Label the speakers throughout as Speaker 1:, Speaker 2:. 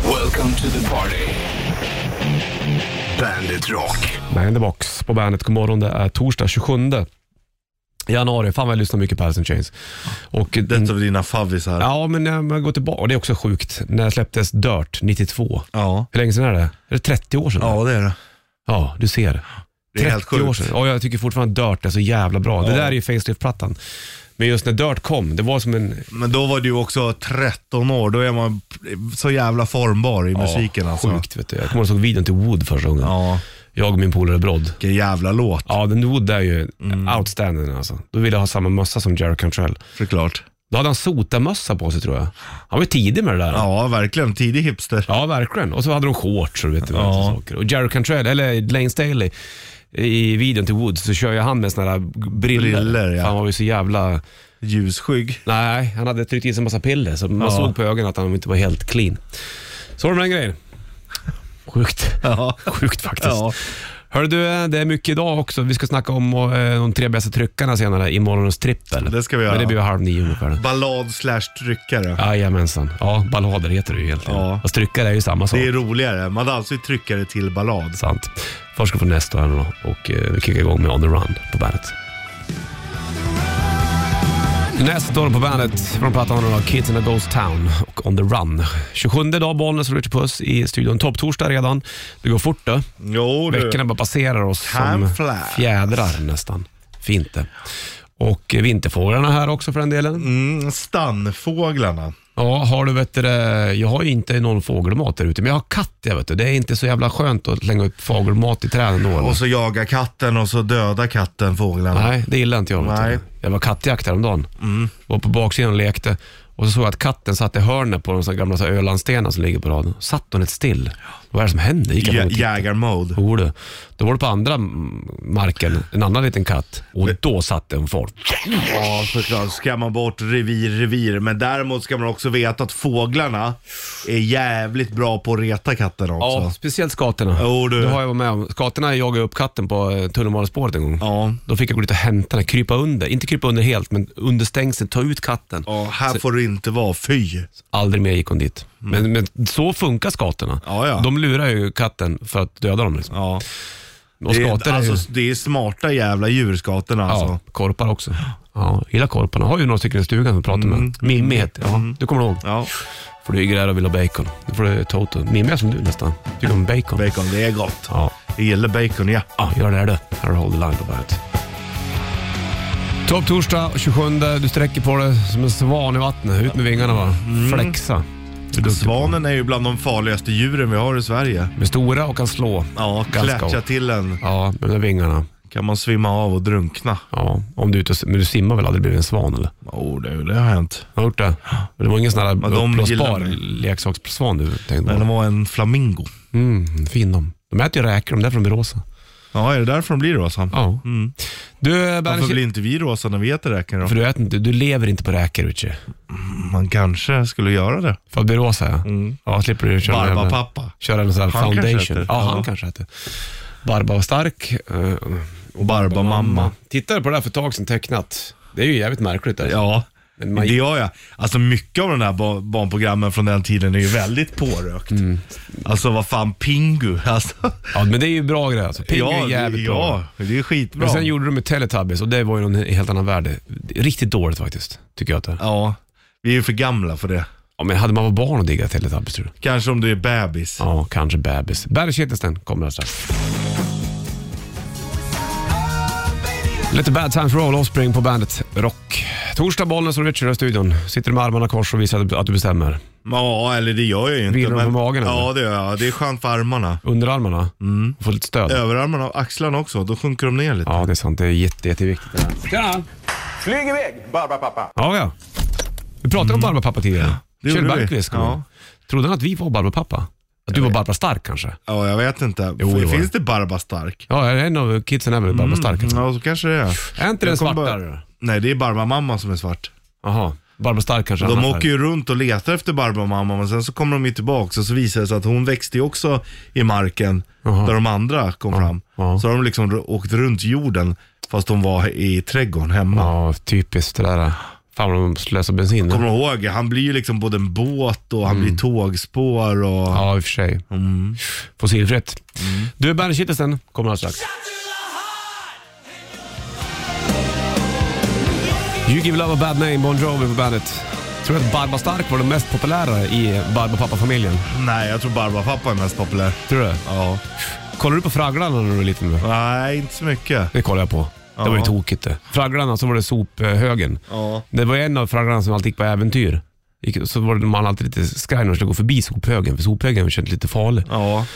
Speaker 1: Welcome to the party. Bandit Rock.
Speaker 2: Man in the box på bandet. God morgon, det är torsdag 27 januari. Fan vad jag lyssnar mycket på Alice in Chains. Och,
Speaker 3: Det är ett av dina favvisar.
Speaker 2: Mm. ja, men när man går tillbaka, och det är också sjukt, när släpptes Dirt 92?
Speaker 3: ja.
Speaker 2: Hur länge sedan är det? Är det 30 år sedan?
Speaker 3: Ja, det är det.
Speaker 2: Ja, du ser.
Speaker 3: Det är helt
Speaker 2: 30 år
Speaker 3: sjukt.
Speaker 2: sedan. Och jag tycker fortfarande Dirt är så jävla bra. Det
Speaker 3: Ja.
Speaker 2: där är ju Facelift-plattan. Men just när Dirt kom, det var som en...
Speaker 3: Men då var du också 13 år, då är man så jävla formbar i musiken alltså.
Speaker 2: Sjukt vet du. Jag kommer ihåg jag såg videon till Wood första gången.
Speaker 3: Ja,
Speaker 2: Jag och min polare Brodd.
Speaker 3: vilken jävla låt
Speaker 2: Ja, den Wood är ju
Speaker 3: Mm.
Speaker 2: outstanding alltså. Då ville jag ha samma mössa som Jerry Cantrell.
Speaker 3: såklart.
Speaker 2: Då hade han sotarmössa på sig tror jag. Han var tidig med det där.
Speaker 3: Ja, verkligen. Tidig hipster.
Speaker 2: Ja, verkligen. Och så hade de shorts och vet du vad
Speaker 3: Ja.
Speaker 2: sådana saker. Och Jerry Cantrell, eller Lane Staley, i videon till Woods så kör ju han med såna där briller.
Speaker 3: Briller, ja.
Speaker 2: Han var ju så jävla...
Speaker 3: Ljusskygg.
Speaker 2: Nej, han hade tryckt in sig en massa piller så man
Speaker 3: Ja.
Speaker 2: såg på ögonen att han inte var helt clean. Så var det med den grejen. Sjukt.
Speaker 3: Ja.
Speaker 2: Sjukt faktiskt.
Speaker 3: Ja.
Speaker 2: Hör du, eh, det är mycket idag också. Vi ska snacka om eh, de tre bästa tryckarna senare i morgonens trippel.
Speaker 3: Det ska vi
Speaker 2: Men
Speaker 3: göra.
Speaker 2: det blir halv nio ungefär.
Speaker 3: Ballad slash tryckare.
Speaker 2: Jajamensan. Ja, ballader heter det ju egentligen.
Speaker 3: Ja.
Speaker 2: Fast tryckare är ju samma sak.
Speaker 3: Det är roligare. Man hade alltid tryckare till ballad.
Speaker 2: Sant. Först ska vi få nästa här nu då och eh, vi kickar igång med On the Run på bandet. Nestor på bandet från plattan då, Kids in a Ghost Town och On the Run. 27 dag Bollnäs och Richard Puss i studion. Topptorsdag redan. Det går fort du.
Speaker 3: Jo du.
Speaker 2: Veckorna bara passerar oss
Speaker 3: Time
Speaker 2: som
Speaker 3: flies.
Speaker 2: fjädrar nästan. Fint det. Och eh, vinterfåglarna här också för den delen.
Speaker 3: Mm, stannfåglarna.
Speaker 2: Ja, har du vet du, det- jag har ju inte någon fågelmat där ute, men jag har katt jag vet du. Det är inte så jävla skönt att slänga upp fågelmat i träden då. eller?
Speaker 3: Och så jagar katten och så dödar katten fåglarna.
Speaker 2: Nej, det gillar inte jag. vet du.
Speaker 3: Nej. Mm.
Speaker 2: Jag var kattjakt häromdagen. Var på baksidan och lekte. Och så såg jag att katten satt i hörnet på de så här gamla så här Ölandsstenar som ligger på raden. Satt hon helt still. Vad är det som händer? Gick jag
Speaker 3: Ja,
Speaker 2: fram och tittade.
Speaker 3: jägarmode.
Speaker 2: Jo, du. Då var det på andra mm, marken en annan liten katt och då satt den folk.
Speaker 3: Ja, såklart. Ska man bort revir, revir. Men däremot ska man också veta att fåglarna är jävligt bra på att reta katterna
Speaker 2: Ja,
Speaker 3: också.
Speaker 2: speciellt skatorna.
Speaker 3: Jo, du.
Speaker 2: Det har jag varit med om. Skatorna jagade upp katten på eh, tunnelbanespåret en gång.
Speaker 3: Ja.
Speaker 2: Då fick jag gå dit och hämta den, krypa under. Inte krypa under helt, men under stängseln, ta ut katten.
Speaker 3: Ja, här får du inte vara. Fy!
Speaker 2: Aldrig mer gick hon dit. Men, men så funkar skatorna.
Speaker 3: Mm. Ja, ja.
Speaker 2: De lurar ju katten för att döda dem. Liksom.
Speaker 3: Ja.
Speaker 2: Och
Speaker 3: Det,
Speaker 2: skator
Speaker 3: är,
Speaker 2: är ju...
Speaker 3: alltså, det är smarta jävla djur, skatorna alltså.
Speaker 2: Ja, korpar också. Ja, gillar korparna. Har ju några stycken i stugan som vi pratar med. Mimmi heter ja, Du kommer ihåg?
Speaker 3: Mm. Ja,
Speaker 2: Flyger där och vill ha bacon. Då får du Toto. Mimmi är som du nästan. Tycker om bacon.
Speaker 3: bacon. Det är gott.
Speaker 2: Ja.
Speaker 3: Jag gillar bacon, ja.
Speaker 2: Ja, gör det här du. Här har Hold the Line på bandet. Topp torsdag 27. Du sträcker på dig som en svan i vattnet. Ut med vingarna va. Flexa. Du är duktig på.
Speaker 3: Svanen är ju bland de farligaste djuren vi har i Sverige.
Speaker 2: De är stora och kan slå.
Speaker 3: Ja,
Speaker 2: Ganska
Speaker 3: klättra
Speaker 2: hårt.
Speaker 3: till en
Speaker 2: Ja, med de där vingarna.
Speaker 3: kan man svimma av och drunkna.
Speaker 2: Ja, om du är ute och, men du simmar väl aldrig blivit en svan eller?
Speaker 3: Jo, det, det har hänt.
Speaker 2: Har du gjort det? Men det var ingen sån här
Speaker 3: de
Speaker 2: uppblåsbar
Speaker 3: gillar mig.
Speaker 2: leksakssvan du tänkte
Speaker 3: Men det
Speaker 2: på?
Speaker 3: var en flamingo.
Speaker 2: Mm, fin de. De äter ju räkor, de där från Rosa.
Speaker 3: Ja, är det alltså? därför de blir rosa?
Speaker 2: Ja. Du,
Speaker 3: Varför blir
Speaker 2: Bernt,
Speaker 3: inte vi rosa när vi äter räkor då?
Speaker 2: för du äter inte, du lever inte på räkor Richie.
Speaker 3: Man kanske skulle göra det.
Speaker 2: För att bli rosa ja. Ja, slipper du köra en jävla-
Speaker 3: Barbapappa.
Speaker 2: Köra en sån här
Speaker 3: Han kanske
Speaker 2: foundation.
Speaker 3: äter.
Speaker 2: ja, han
Speaker 3: Ja.
Speaker 2: kanske äter. Barba var stark. eh,
Speaker 3: Och Barbamamma.
Speaker 2: Tittade på det här för ett tag sedan tecknat. Det är ju jävligt märkligt. Alltså.
Speaker 3: Ja,
Speaker 2: Men man-
Speaker 3: det gör jag. Alltså mycket av de här ba- barnprogrammen från den tiden är ju väldigt pårökt.
Speaker 2: Mm.
Speaker 3: Alltså vad fan, Pingu. Alltså,
Speaker 2: Ja, men det är ju bra grejer alltså. Pingu är jävligt
Speaker 3: ja,
Speaker 2: bra.
Speaker 3: Ja, det är skitbra.
Speaker 2: Men sen gjorde de med Teletubbies och det var ju en helt annan värld. Riktigt dåligt faktiskt, tycker jag att det är.
Speaker 3: Ja, vi är ju för gamla för det.
Speaker 2: Ja, men hade man varit barn och diggat Teletubbies tror du?
Speaker 3: Kanske om du är bebis.
Speaker 2: Ja, kanske bebis. Barry Kittelsten kommer alltså. Lite Bad Times Roll Offspring på bandet Rock. Torsdag, Bollnäs och Richard i studion. Sitter du med armarna kors och visar att du bestämmer?
Speaker 3: Ja, eller det gör jag ju inte.
Speaker 2: Vilar du på magen, eller?
Speaker 3: Ja, det gör jag. Det är skönt för armarna.
Speaker 2: Underarmarna? Mm. Får lite stöd?
Speaker 3: Överarmarna och axlarna också, då sjunker de ner lite.
Speaker 2: Ja, det är sant. Det är jätte, jätteviktigt. Tjena! Flyg iväg, Barbapapa. Ja, ja. Vi pratade om Barbapapa tidigare.
Speaker 3: Mm. det
Speaker 2: Kjell
Speaker 3: gjorde vi.
Speaker 2: Bergqvist kom
Speaker 3: Ja.
Speaker 2: in. Trodde han att vi var Barbapapa? Att du var Barbara Stark kanske?
Speaker 3: Ja, jag vet inte.
Speaker 2: Jo, det var
Speaker 3: Finns det Barba Stark?
Speaker 2: Ja, är det en av kidsen är väl Barbara Stark? alltså?
Speaker 3: Ja, så kanske det är.
Speaker 2: Är inte den
Speaker 3: Mm. Jag kommer
Speaker 2: svart
Speaker 3: bara-
Speaker 2: där?
Speaker 3: Nej, det är Barbamamma som är svart.
Speaker 2: Jaha, Barbara Stark kanske
Speaker 3: De
Speaker 2: annan
Speaker 3: åker ju runt och letar efter Barbamamma, men sen så kommer de ju tillbaka och så visar det sig att hon växte ju också i marken
Speaker 2: Jaha.
Speaker 3: där de andra kom fram.
Speaker 2: ja.
Speaker 3: Så har de liksom r- åkt runt jorden fast de var i trädgården hemma.
Speaker 2: Ja, typiskt det där. Fan vad de slösar bensin.
Speaker 3: Kommer du ihåg? Han blir ju liksom både en båt och han blir tågspår och...
Speaker 2: Mm. Ja, i och för sig.
Speaker 3: Mm.
Speaker 2: Fossilfritt. Du, Bandykittelsen kommer alldeles strax. You give love a bad name, Bon Jovi på bandet. Tror du att Barba Stark var den mest populära i Barba pappa-familjen?
Speaker 3: Nej, jag tror Barbapapa är mest populär.
Speaker 2: Tror du det?
Speaker 3: Ja.
Speaker 2: Kollade du på Fragglarna när du var liten?
Speaker 3: Nej, inte så mycket.
Speaker 2: Det kollade jag på. Det var ju
Speaker 3: Ja.
Speaker 2: tokigt det. Fragglarna, så var det sophögen.
Speaker 3: Ja.
Speaker 2: Det var en av fragglarna som alltid gick på äventyr. Gick- Så var det man alltid lite skraj när man skulle gå förbi sophögen, för sophögen kändes lite farlig.
Speaker 3: Ja.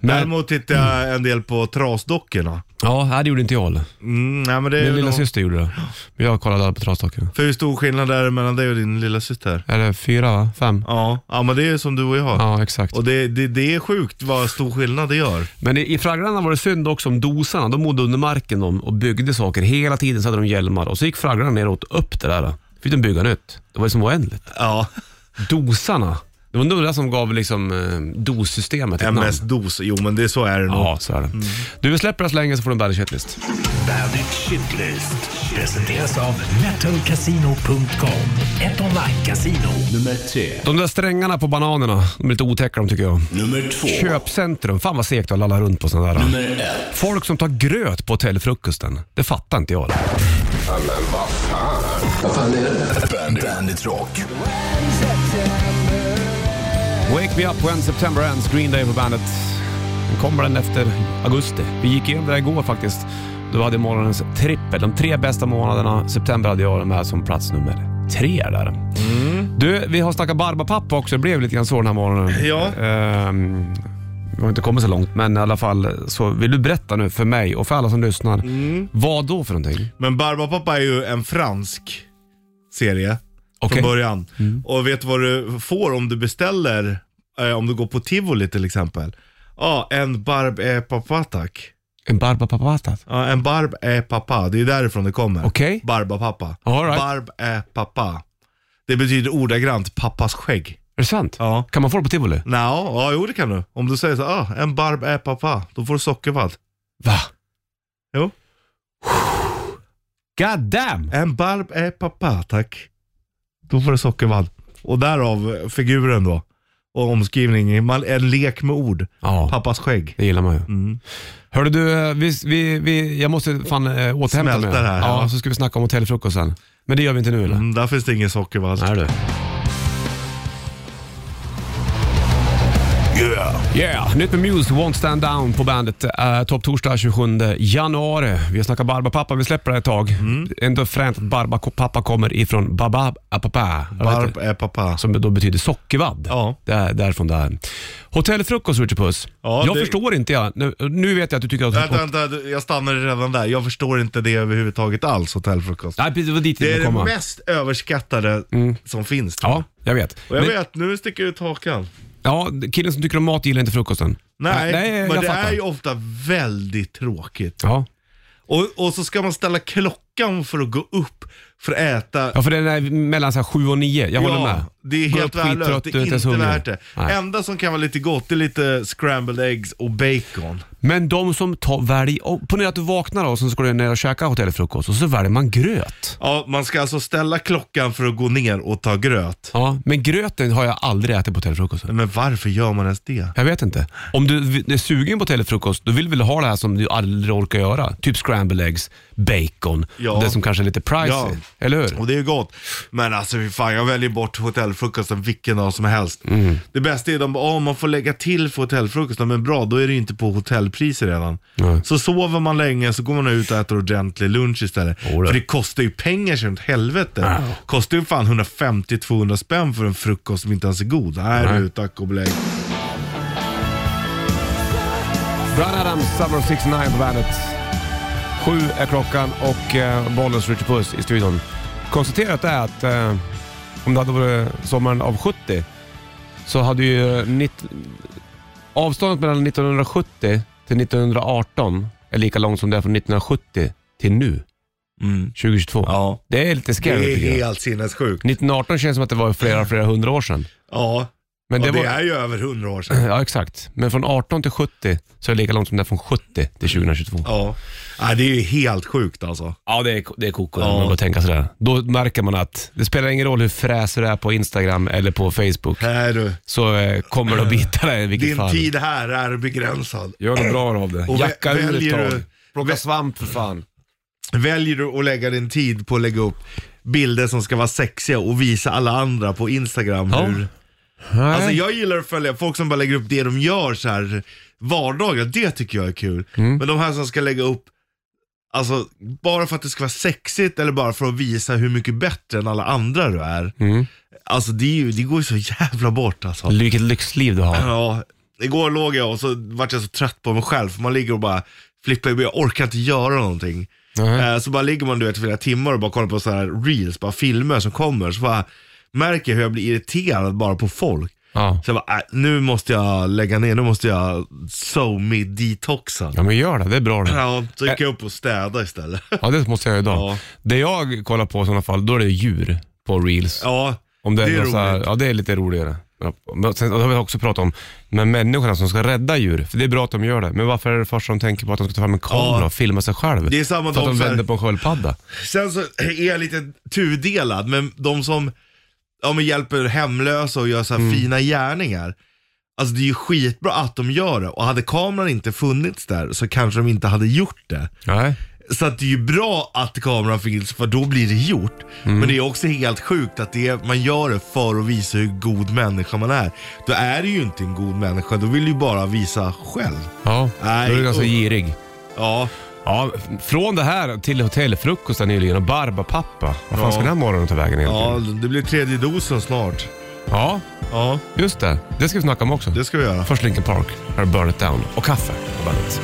Speaker 2: Men-
Speaker 3: Däremot tittar jag en del på trasdockorna.
Speaker 2: Ja, nej, det gjorde inte jag.
Speaker 3: Mm, nej, men det är
Speaker 2: Min lilla
Speaker 3: nog...
Speaker 2: syster gjorde det. Men jag kollade aldrig på trasdockorna.
Speaker 3: För hur stor skillnad är det mellan dig och din lilla syster?
Speaker 2: Är det fyra, va? Fem?
Speaker 3: Ja. ja, men det är som du och jag.
Speaker 2: Ja, exakt.
Speaker 3: Och det, det, det är sjukt vad stor skillnad det gör.
Speaker 2: Men i, i Fragglarna var det synd också om dosarna. De bodde under marken de, och byggde saker. Hela tiden så hade de hjälmar och så gick Fragglarna ner och åt upp det där. då. fick de bygga nytt. Det var liksom oändligt.
Speaker 3: Ja.
Speaker 2: Dosarna. Det var nog det som gav liksom, eh, dossystemet ett namn.
Speaker 3: MS-dos, jo men det är så är det nog.
Speaker 2: Ja, så är det. Du, vi släpper det så länge så får du en bandage hitlist.
Speaker 1: Bandit Shitlist presenteras av metalcasino.com. Ett online-casino.
Speaker 4: Nummer tre.
Speaker 2: De där strängarna på bananerna, de är lite otäcka de tycker jag.
Speaker 4: Nummer två.
Speaker 2: Köpcentrum, fan vad segt att lalla runt på sådana där.
Speaker 4: Nummer ett.
Speaker 2: Folk som tar gröt på hotellfrukosten, det fattar inte jag.
Speaker 4: Bandit. Bandit Rock.
Speaker 2: Wake Me Up When September Ends, Green Day på bandet. Den kommer den efter augusti. Vi gick igenom det där igår faktiskt. Då hade jag morgonens trippel. De tre bästa månaderna. September hade jag den här som plats nummer tre där. Du, vi har snackat barbapappa också. Det blev lite grann så den här morgonen.
Speaker 3: Ja.
Speaker 2: Ehm, vi har inte kommit så långt, men i alla fall så vill du berätta nu för mig och för alla som lyssnar. Vad då för någonting?
Speaker 3: Men Barbapapa är ju en fransk serie
Speaker 2: Okej. Mm.
Speaker 3: från början. Och vet du vad du får om du beställer, eh, om du går på Tivoli till exempel? Ja, en barb är pappa tack.
Speaker 2: En barbapappa?
Speaker 3: Ja, en barb är pappa, det är därifrån det kommer.
Speaker 2: Okej.
Speaker 3: Barbapapa.
Speaker 2: All right.
Speaker 3: Barb är pappa. Det betyder ordagrant pappas skägg.
Speaker 2: Är det sant?
Speaker 3: Ja.
Speaker 2: Kan man få det på tivoli?
Speaker 3: Nå, ja jo det kan du. Om du säger så, ah, en barb är pappa, då får du sockervadd.
Speaker 2: Va?
Speaker 3: Jo.
Speaker 2: God damn!
Speaker 3: En barb är pappa, tack. Då får du sockervadd. Och därav figuren då. Och omskrivning, man, en lek med ord.
Speaker 2: Ja.
Speaker 3: Pappas skägg.
Speaker 2: Det gillar man ju.
Speaker 3: Mm.
Speaker 2: Hörde du, eh, vi, vi, vi, jag måste fan äh, återhämta mig.
Speaker 3: Smälta det här,
Speaker 2: Ja,
Speaker 3: ja.
Speaker 2: så ska vi snacka om hotellfrukosten. Men det gör vi inte nu eller?
Speaker 3: Mm, där finns det ingen sockervadd.
Speaker 2: Nej du.
Speaker 4: Yeah.
Speaker 2: Yeah! Nytt med Muse, Won't Stand Down på bandet. Uh, Topp torsdag 27 januari. Vi har snackat Barbapappa, vi släpper det ett tag.
Speaker 3: Mm.
Speaker 2: Ändå fränt att Barbapappa kommer ifrån eh, Babapappa.
Speaker 3: Barb är pappa.
Speaker 2: Som då betyder sockervadd.
Speaker 3: Ja.
Speaker 2: Där, därifrån där. Hotellfrukost, Richard Puss.
Speaker 3: Ja,
Speaker 2: jag
Speaker 3: det-
Speaker 2: förstår inte jag. Nu, nu vet jag att du tycker att...
Speaker 3: Vänta, vänta, du, jag stannar redan där. Jag förstår inte det överhuvudtaget alls, hotellfrukost.
Speaker 2: Nej, precis, det var dit
Speaker 3: Det
Speaker 2: ville
Speaker 3: är det
Speaker 2: komma.
Speaker 3: mest överskattade som finns.
Speaker 2: Ja, jag vet.
Speaker 3: Och jag
Speaker 2: Men-
Speaker 3: vet, nu sticker jag ut hakan.
Speaker 2: Ja, killen som tycker om mat gillar inte frukosten.
Speaker 3: Nej,
Speaker 2: jag
Speaker 3: men det
Speaker 2: fattar.
Speaker 3: är ju ofta väldigt tråkigt.
Speaker 2: Ja.
Speaker 3: Och, och så ska man ställa klockan för att gå upp för att äta.
Speaker 2: ja, för den är mellan så här, sju och nio. Jag håller med.
Speaker 3: Det är
Speaker 2: Gå
Speaker 3: helt
Speaker 2: upp
Speaker 3: värdelöst.
Speaker 2: skittrött,
Speaker 3: Det
Speaker 2: du
Speaker 3: är
Speaker 2: ens
Speaker 3: inte
Speaker 2: hungrig.
Speaker 3: värt det.
Speaker 2: Nej.
Speaker 3: Enda som kan vara lite gott, det är lite scrambled eggs och bacon.
Speaker 2: Men de som tar, välj, oh, ponera att du vaknar då, och sen ska du ner och käka hotellfrukost och så väljer man gröt.
Speaker 3: Ja, man ska alltså ställa klockan för att gå ner och ta gröt.
Speaker 2: Ja, men gröten har jag aldrig ätit på hotellfrukosten.
Speaker 3: Men varför gör man ens det?
Speaker 2: Jag vet inte. Om du vi- är sugen på hotellfrukost, då vill du väl ha det här som du aldrig orkar göra? Typ scrambled eggs, bacon,
Speaker 3: Ja.
Speaker 2: det som kanske är lite pricey.
Speaker 3: Ja.
Speaker 2: Eller hur?
Speaker 3: Och det är ju gott. Men alltså fy fan, jag väljer bort hotellfrukosten vilken dag som helst.
Speaker 2: Mm.
Speaker 3: Det bästa är de bara, "Åh, man får lägga till för hotellfrukosten, men bra, då är det ju inte på hotellpriser redan.
Speaker 2: Nej.
Speaker 3: Så sover man länge, så går man ut och äter ordentlig lunch istället.
Speaker 2: Jodå.
Speaker 3: För det kostar ju pengar så ett helvete. Kostar ju fan 150-200 spänn för en frukost som inte ens är god. Nej,
Speaker 2: Nej.
Speaker 3: du, tack och belägg.
Speaker 2: Brian Adams, Summer of 69 oh på bandet. Sju är klockan och eh, Bollens Richard Puss i studion. Konstaterat är att eh, om det hade varit sommaren av 70 så hade ju eh, nitt, avståndet mellan 1970 till 1918 är lika långt som det är från 1970 till nu, 2022.
Speaker 3: Mm. Ja.
Speaker 2: Det är lite
Speaker 3: Det
Speaker 2: scary
Speaker 3: är
Speaker 2: tycker jag.
Speaker 3: helt sinnessjukt.
Speaker 2: 1918 känns som att det var flera, flera hundra år sedan.
Speaker 3: Ja.
Speaker 2: Men
Speaker 3: Det,
Speaker 2: det
Speaker 3: det
Speaker 2: var,
Speaker 3: är ju över 100 år sedan.
Speaker 2: ja, exakt. Men från 18 till 70 så är det lika långt som det är från 70 till 2022.
Speaker 3: Ja. ja, det är ju helt sjukt alltså.
Speaker 2: Ja, det är, det är koko
Speaker 3: Ja.
Speaker 2: om man bara tänker sådär. Då märker man att det spelar ingen roll hur fräsig du är på Instagram eller på Facebook.
Speaker 3: Här, du.
Speaker 2: Så eh, kommer det att bita dig i vilket
Speaker 3: Din
Speaker 2: fall.
Speaker 3: tid här är begränsad.
Speaker 2: Gör något bra av det.
Speaker 3: Och vä-
Speaker 2: Jacka ur ett
Speaker 3: väljer
Speaker 2: tag.
Speaker 3: du-
Speaker 2: Plocka svamp för fan.
Speaker 3: Väljer du att lägga din tid på att lägga upp bilder som ska vara sexiga och visa alla andra på Instagram
Speaker 2: Ja.
Speaker 3: hur... Alltså jag gillar att följa folk som bara lägger upp det de gör så här vardagliga, det tycker jag är kul.
Speaker 2: Mm.
Speaker 3: Men de här som ska lägga upp, alltså bara för att det ska vara sexigt eller bara för att visa hur mycket bättre än alla andra du är.
Speaker 2: Mm.
Speaker 3: Alltså det, är ju, det går ju så jävla bort alltså.
Speaker 2: Vilket lyxliv du har.
Speaker 3: Ja, igår låg jag och så vart jag så trött på mig själv, för man ligger och bara flippar, jag orkar inte göra någonting.
Speaker 2: Nej.
Speaker 3: Eh, Så bara ligger man du vet flera timmar och bara kollar på så här reels, bara filmer som kommer, så bara märker jag hur jag blir irriterad bara på folk.
Speaker 2: Ja.
Speaker 3: Så jag bara, äh, nu måste jag lägga ner, nu måste jag so me detoxa.
Speaker 2: ja, men gör det. Det är bra det.
Speaker 3: Ja, så gick jag upp och städa istället.
Speaker 2: Ja, det måste jag göra idag.
Speaker 3: Ja.
Speaker 2: Det jag kollar på i sådana fall, då är det djur på reels.
Speaker 3: Ja,
Speaker 2: Om det, är
Speaker 3: det är
Speaker 2: någon så här,
Speaker 3: roligt.
Speaker 2: ja, det är lite roligare. Ja, men Sen, och det har vi också pratat om, men människorna som ska rädda djur, för det är bra att de gör det, men varför är det först de tänker på att de ska ta fram en kamera
Speaker 3: Ja.
Speaker 2: och filma sig själv?
Speaker 3: Det är samma
Speaker 2: för att
Speaker 3: de
Speaker 2: de
Speaker 3: så här-
Speaker 2: vänder på en sköldpadda.
Speaker 3: Sen så är jag lite tudelad, men de som ja, men hjälper hemlösa och gör så här fina gärningar. Alltså det är ju skitbra att de gör det och hade kameran inte funnits där så kanske de inte hade gjort det.
Speaker 2: Nej.
Speaker 3: Så att det är ju bra att kameran finns för då blir det gjort. Men det är också helt sjukt att det är, man gör det för att visa hur god människa man är. Då är du ju inte en god människa, då vill du ju bara visa själv.
Speaker 2: Ja,
Speaker 3: Nej,
Speaker 2: då är du ganska
Speaker 3: och-
Speaker 2: girig.
Speaker 3: Ja,
Speaker 2: Ja, från det här till hotellfrukosten nyligen och Barbapappa. Vad fan
Speaker 3: Ja.
Speaker 2: ska den här morgonen ta vägen egentligen?
Speaker 3: ja det blir tredje dosen snart.
Speaker 2: Ja.
Speaker 3: Ja,
Speaker 2: just det. Det ska vi snacka om också.
Speaker 3: det ska vi göra.
Speaker 2: Först Linkin Park, här är Burn It Down och kaffe på bandet.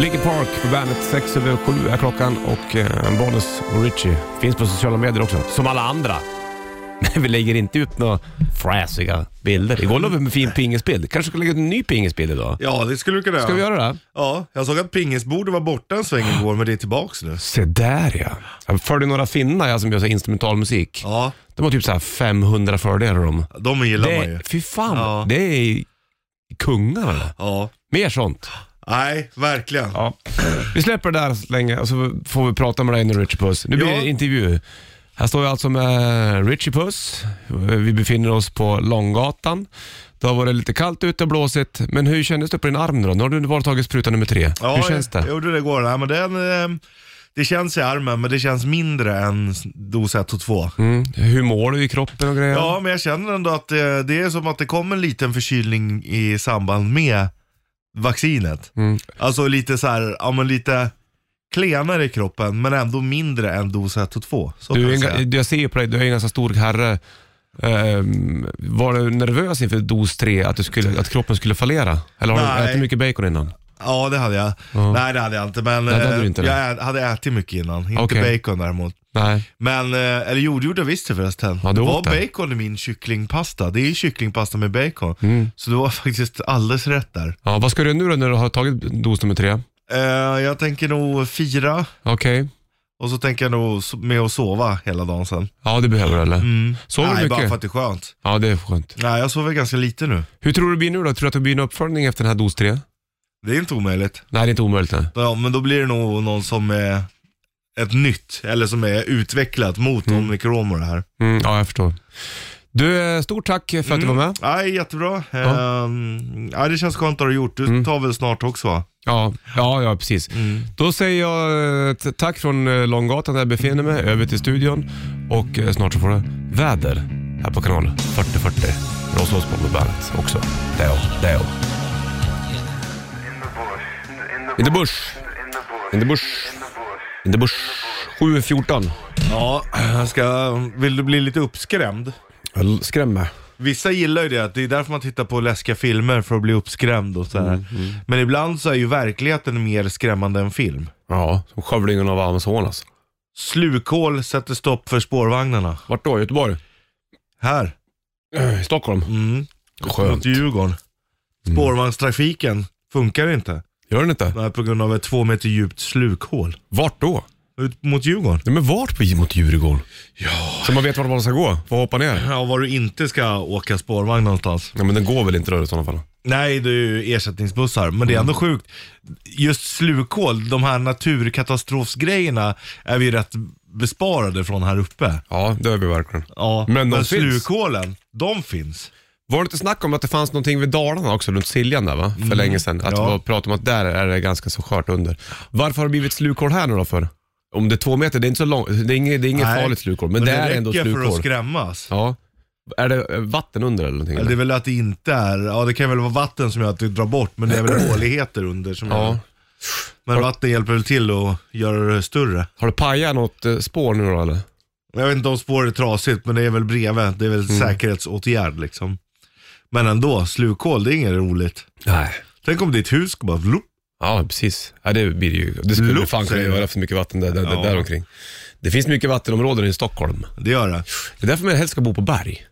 Speaker 2: Linkin Park på bandet, sex över sju är klockan och eh, en bonus och Richie finns på sociala medier också, som alla andra. Men vi lägger inte upp några fräsiga bilder. Igår la vi upp en fin pingisbild. Kanske ska lägga ut en ny pingisbild idag.
Speaker 3: Ja, det skulle du kunna göra.
Speaker 2: Ska vi göra det?
Speaker 3: Ja, jag såg att pingisbordet var borta en sväng igår, men det är tillbaks nu.
Speaker 2: Se där ja. Jag följde några finnar jag som gör så här instrumentalmusik.
Speaker 3: Ja,
Speaker 2: De har typ så här 500 fördelar de.
Speaker 3: de gillar man ju.
Speaker 2: Det, fy fan,
Speaker 3: Ja.
Speaker 2: det är kungar. eller?
Speaker 3: Ja.
Speaker 2: Mer sånt.
Speaker 3: Nej, verkligen.
Speaker 2: Ja. Vi släpper det där så länge och så får vi prata med dig nu Richie Puss. Nu blir
Speaker 3: Ja.
Speaker 2: det intervju. Här står jag alltså med Richie Puss. Vi befinner oss på Långgatan. Det har varit lite kallt ute och blåsigt, men hur kändes det på din arm nu då? Nu har du bara tagit spruta nummer tre.
Speaker 3: Ja,
Speaker 2: hur känns
Speaker 3: Jag,
Speaker 2: det?
Speaker 3: jag gjorde det igår. Nej, men den, eh, det känns i armen, men det känns mindre än dos 1 och 2.
Speaker 2: Mm. Hur mår du i kroppen och grejer?
Speaker 3: Ja, men jag känner ändå att eh, det är som att det kom en liten förkylning i samband med vaccinet.
Speaker 2: Mm.
Speaker 3: Alltså lite så här, ja men lite klenare i kroppen, men ändå mindre än dos 1 och 2. Så kan
Speaker 2: Du är
Speaker 3: jag
Speaker 2: en,
Speaker 3: säga.
Speaker 2: ga- jag ser ju på dig, du är ju en ganska stor herre. Ehm, var du nervös inför dos tre, att, du skulle, att kroppen skulle fallera? Eller har du
Speaker 3: Nej.
Speaker 2: ätit mycket bacon innan?
Speaker 3: Ja, det hade jag.
Speaker 2: Ja.
Speaker 3: Nej, det hade jag inte. Men
Speaker 2: Nej, det hade
Speaker 3: eh,
Speaker 2: du inte,
Speaker 3: jag ä- hade ätit mycket innan. Inte
Speaker 2: Okej.
Speaker 3: bacon däremot.
Speaker 2: Nej.
Speaker 3: Men, eh, eller jo, det gjorde jag visst det förresten.
Speaker 2: Ja,
Speaker 3: det
Speaker 2: du
Speaker 3: var
Speaker 2: åt det.
Speaker 3: bacon i min kycklingpasta. Det är ju kycklingpasta med bacon.
Speaker 2: Mm.
Speaker 3: Så det var faktiskt alldeles rätt där.
Speaker 2: Ja, vad ska du göra nu då när du har tagit dos nummer tre?
Speaker 3: Eh, jag tänker nog fira
Speaker 2: Okej.
Speaker 3: och så tänker jag nog s- med att sova hela dagen sen.
Speaker 2: Ja, det behöver du eller? Sover du
Speaker 3: Mm. Nej, bara
Speaker 2: mycket?
Speaker 3: för att det är skönt.
Speaker 2: Ja, det är skönt.
Speaker 3: Nej, jag sover ganska lite nu.
Speaker 2: Hur tror du det blir nu då? Tror du att det blir en uppföljning efter den här dos tre?
Speaker 3: Det är inte omöjligt.
Speaker 2: Nej, det är inte omöjligt. Nej.
Speaker 3: Ja, men då blir det nog någon som är ett nytt, eller som är utvecklat mot mm. omikron och det här.
Speaker 2: Mm, ja, jag förstår. Du, eh, stort tack för att du
Speaker 3: Mm.
Speaker 2: var med.
Speaker 3: Nej, jättebra.
Speaker 2: Ja. Mm.
Speaker 3: Ehm, ja, det känns skönt att du har gjort. Du tar väl snart också va?
Speaker 2: Ja, ja, ja precis.
Speaker 3: Mm.
Speaker 2: Då säger jag eh, t- tack från eh, Långgatan där jag befinner mig, över till studion och eh, snart så får du väder här på kanal 4040. Ross Osborn på bandet också. Det är jag, det är jag.
Speaker 5: In the bush. In the, in
Speaker 2: In the bush,
Speaker 5: the bush.
Speaker 2: in the bush,
Speaker 5: In the bush.
Speaker 2: in the bush. 7.14.
Speaker 3: Ja, jag ska, vill du bli lite uppskrämd?
Speaker 2: Jag skrämmer.
Speaker 3: Vissa gillar ju det, att det är därför man tittar på läskiga filmer för att bli uppskrämd och sådär.
Speaker 2: Mm,
Speaker 3: Men ibland så är ju verkligheten mer skrämmande än film.
Speaker 2: Ja, som skövlingen av alltså. Amazonas.
Speaker 3: Slukhål sätter stopp för spårvagnarna.
Speaker 2: Vart då? Göteborg?
Speaker 3: Här,
Speaker 2: I Stockholm?
Speaker 3: mm.
Speaker 2: Skönt. Mm.
Speaker 3: mot Djurgården. Spårvagnstrafiken funkar inte.
Speaker 2: Gör den inte?
Speaker 3: Det här på grund av ett två meter djupt slukhål.
Speaker 2: Vart då?
Speaker 3: Ut mot Djurgården.
Speaker 2: De är vart på mot Djurgården. Ja. Så man vet vart man ska gå. Får hoppa ner.
Speaker 3: Ja, var du inte ska åka spårvagn någonstans.
Speaker 2: Ja, men den går väl inte rör i sådana fall.
Speaker 3: Nej, det är ju ersättningsbussar. Men det är ändå sjukt. Just slukol, de här naturkatastrofsgrejerna är vi rätt besparade från här uppe.
Speaker 2: Ja, det är vi verkligen.
Speaker 3: Ja,
Speaker 2: Men de
Speaker 3: men
Speaker 2: finns.
Speaker 3: slukhålen, de finns.
Speaker 2: Var det inte snack om att det fanns någonting vid Dalarna också, runt Siljan där va? För länge sedan. Att
Speaker 3: Mm. Ja.
Speaker 2: ja. prata om att där är det ganska så skört under. Varför har det blivit slukhål här nu då för? Om det är två meter, det är inte så långt, det är inget, det är inget
Speaker 3: Nej,
Speaker 2: farligt slukhål, men, det är ändå
Speaker 3: räcker för att
Speaker 2: slukhål.
Speaker 3: skrämmas.
Speaker 2: Ja. Är det eh, vatten under eller någonting?
Speaker 3: Ja, det är väl att det inte är, ja det kan väl vara vatten som gör att det drar bort, men det är väl håligheter under som
Speaker 2: Ja.
Speaker 3: gör- Men vatten hjälper väl till att göra det större.
Speaker 2: Har det pajat något eh, spår nu då eller?
Speaker 3: Jag vet inte om spåret är trasigt, men det är väl bredvid. Det är väl säkerhetsåtgärd liksom. Men ändå, slukhål, det är inget roligt.
Speaker 2: Nej.
Speaker 3: Tänk om ditt hus ska bara vlopp.
Speaker 2: Ja, precis. Ja, det blir ju... Det skulle
Speaker 3: Luft,
Speaker 2: du fan kunna
Speaker 3: säger du.
Speaker 2: göra för mycket vatten där, där,
Speaker 3: Ja.
Speaker 2: där omkring. Det finns mycket vattenområden i Stockholm.
Speaker 3: Det gör det.
Speaker 2: Det är därför man helst ska bo på berg.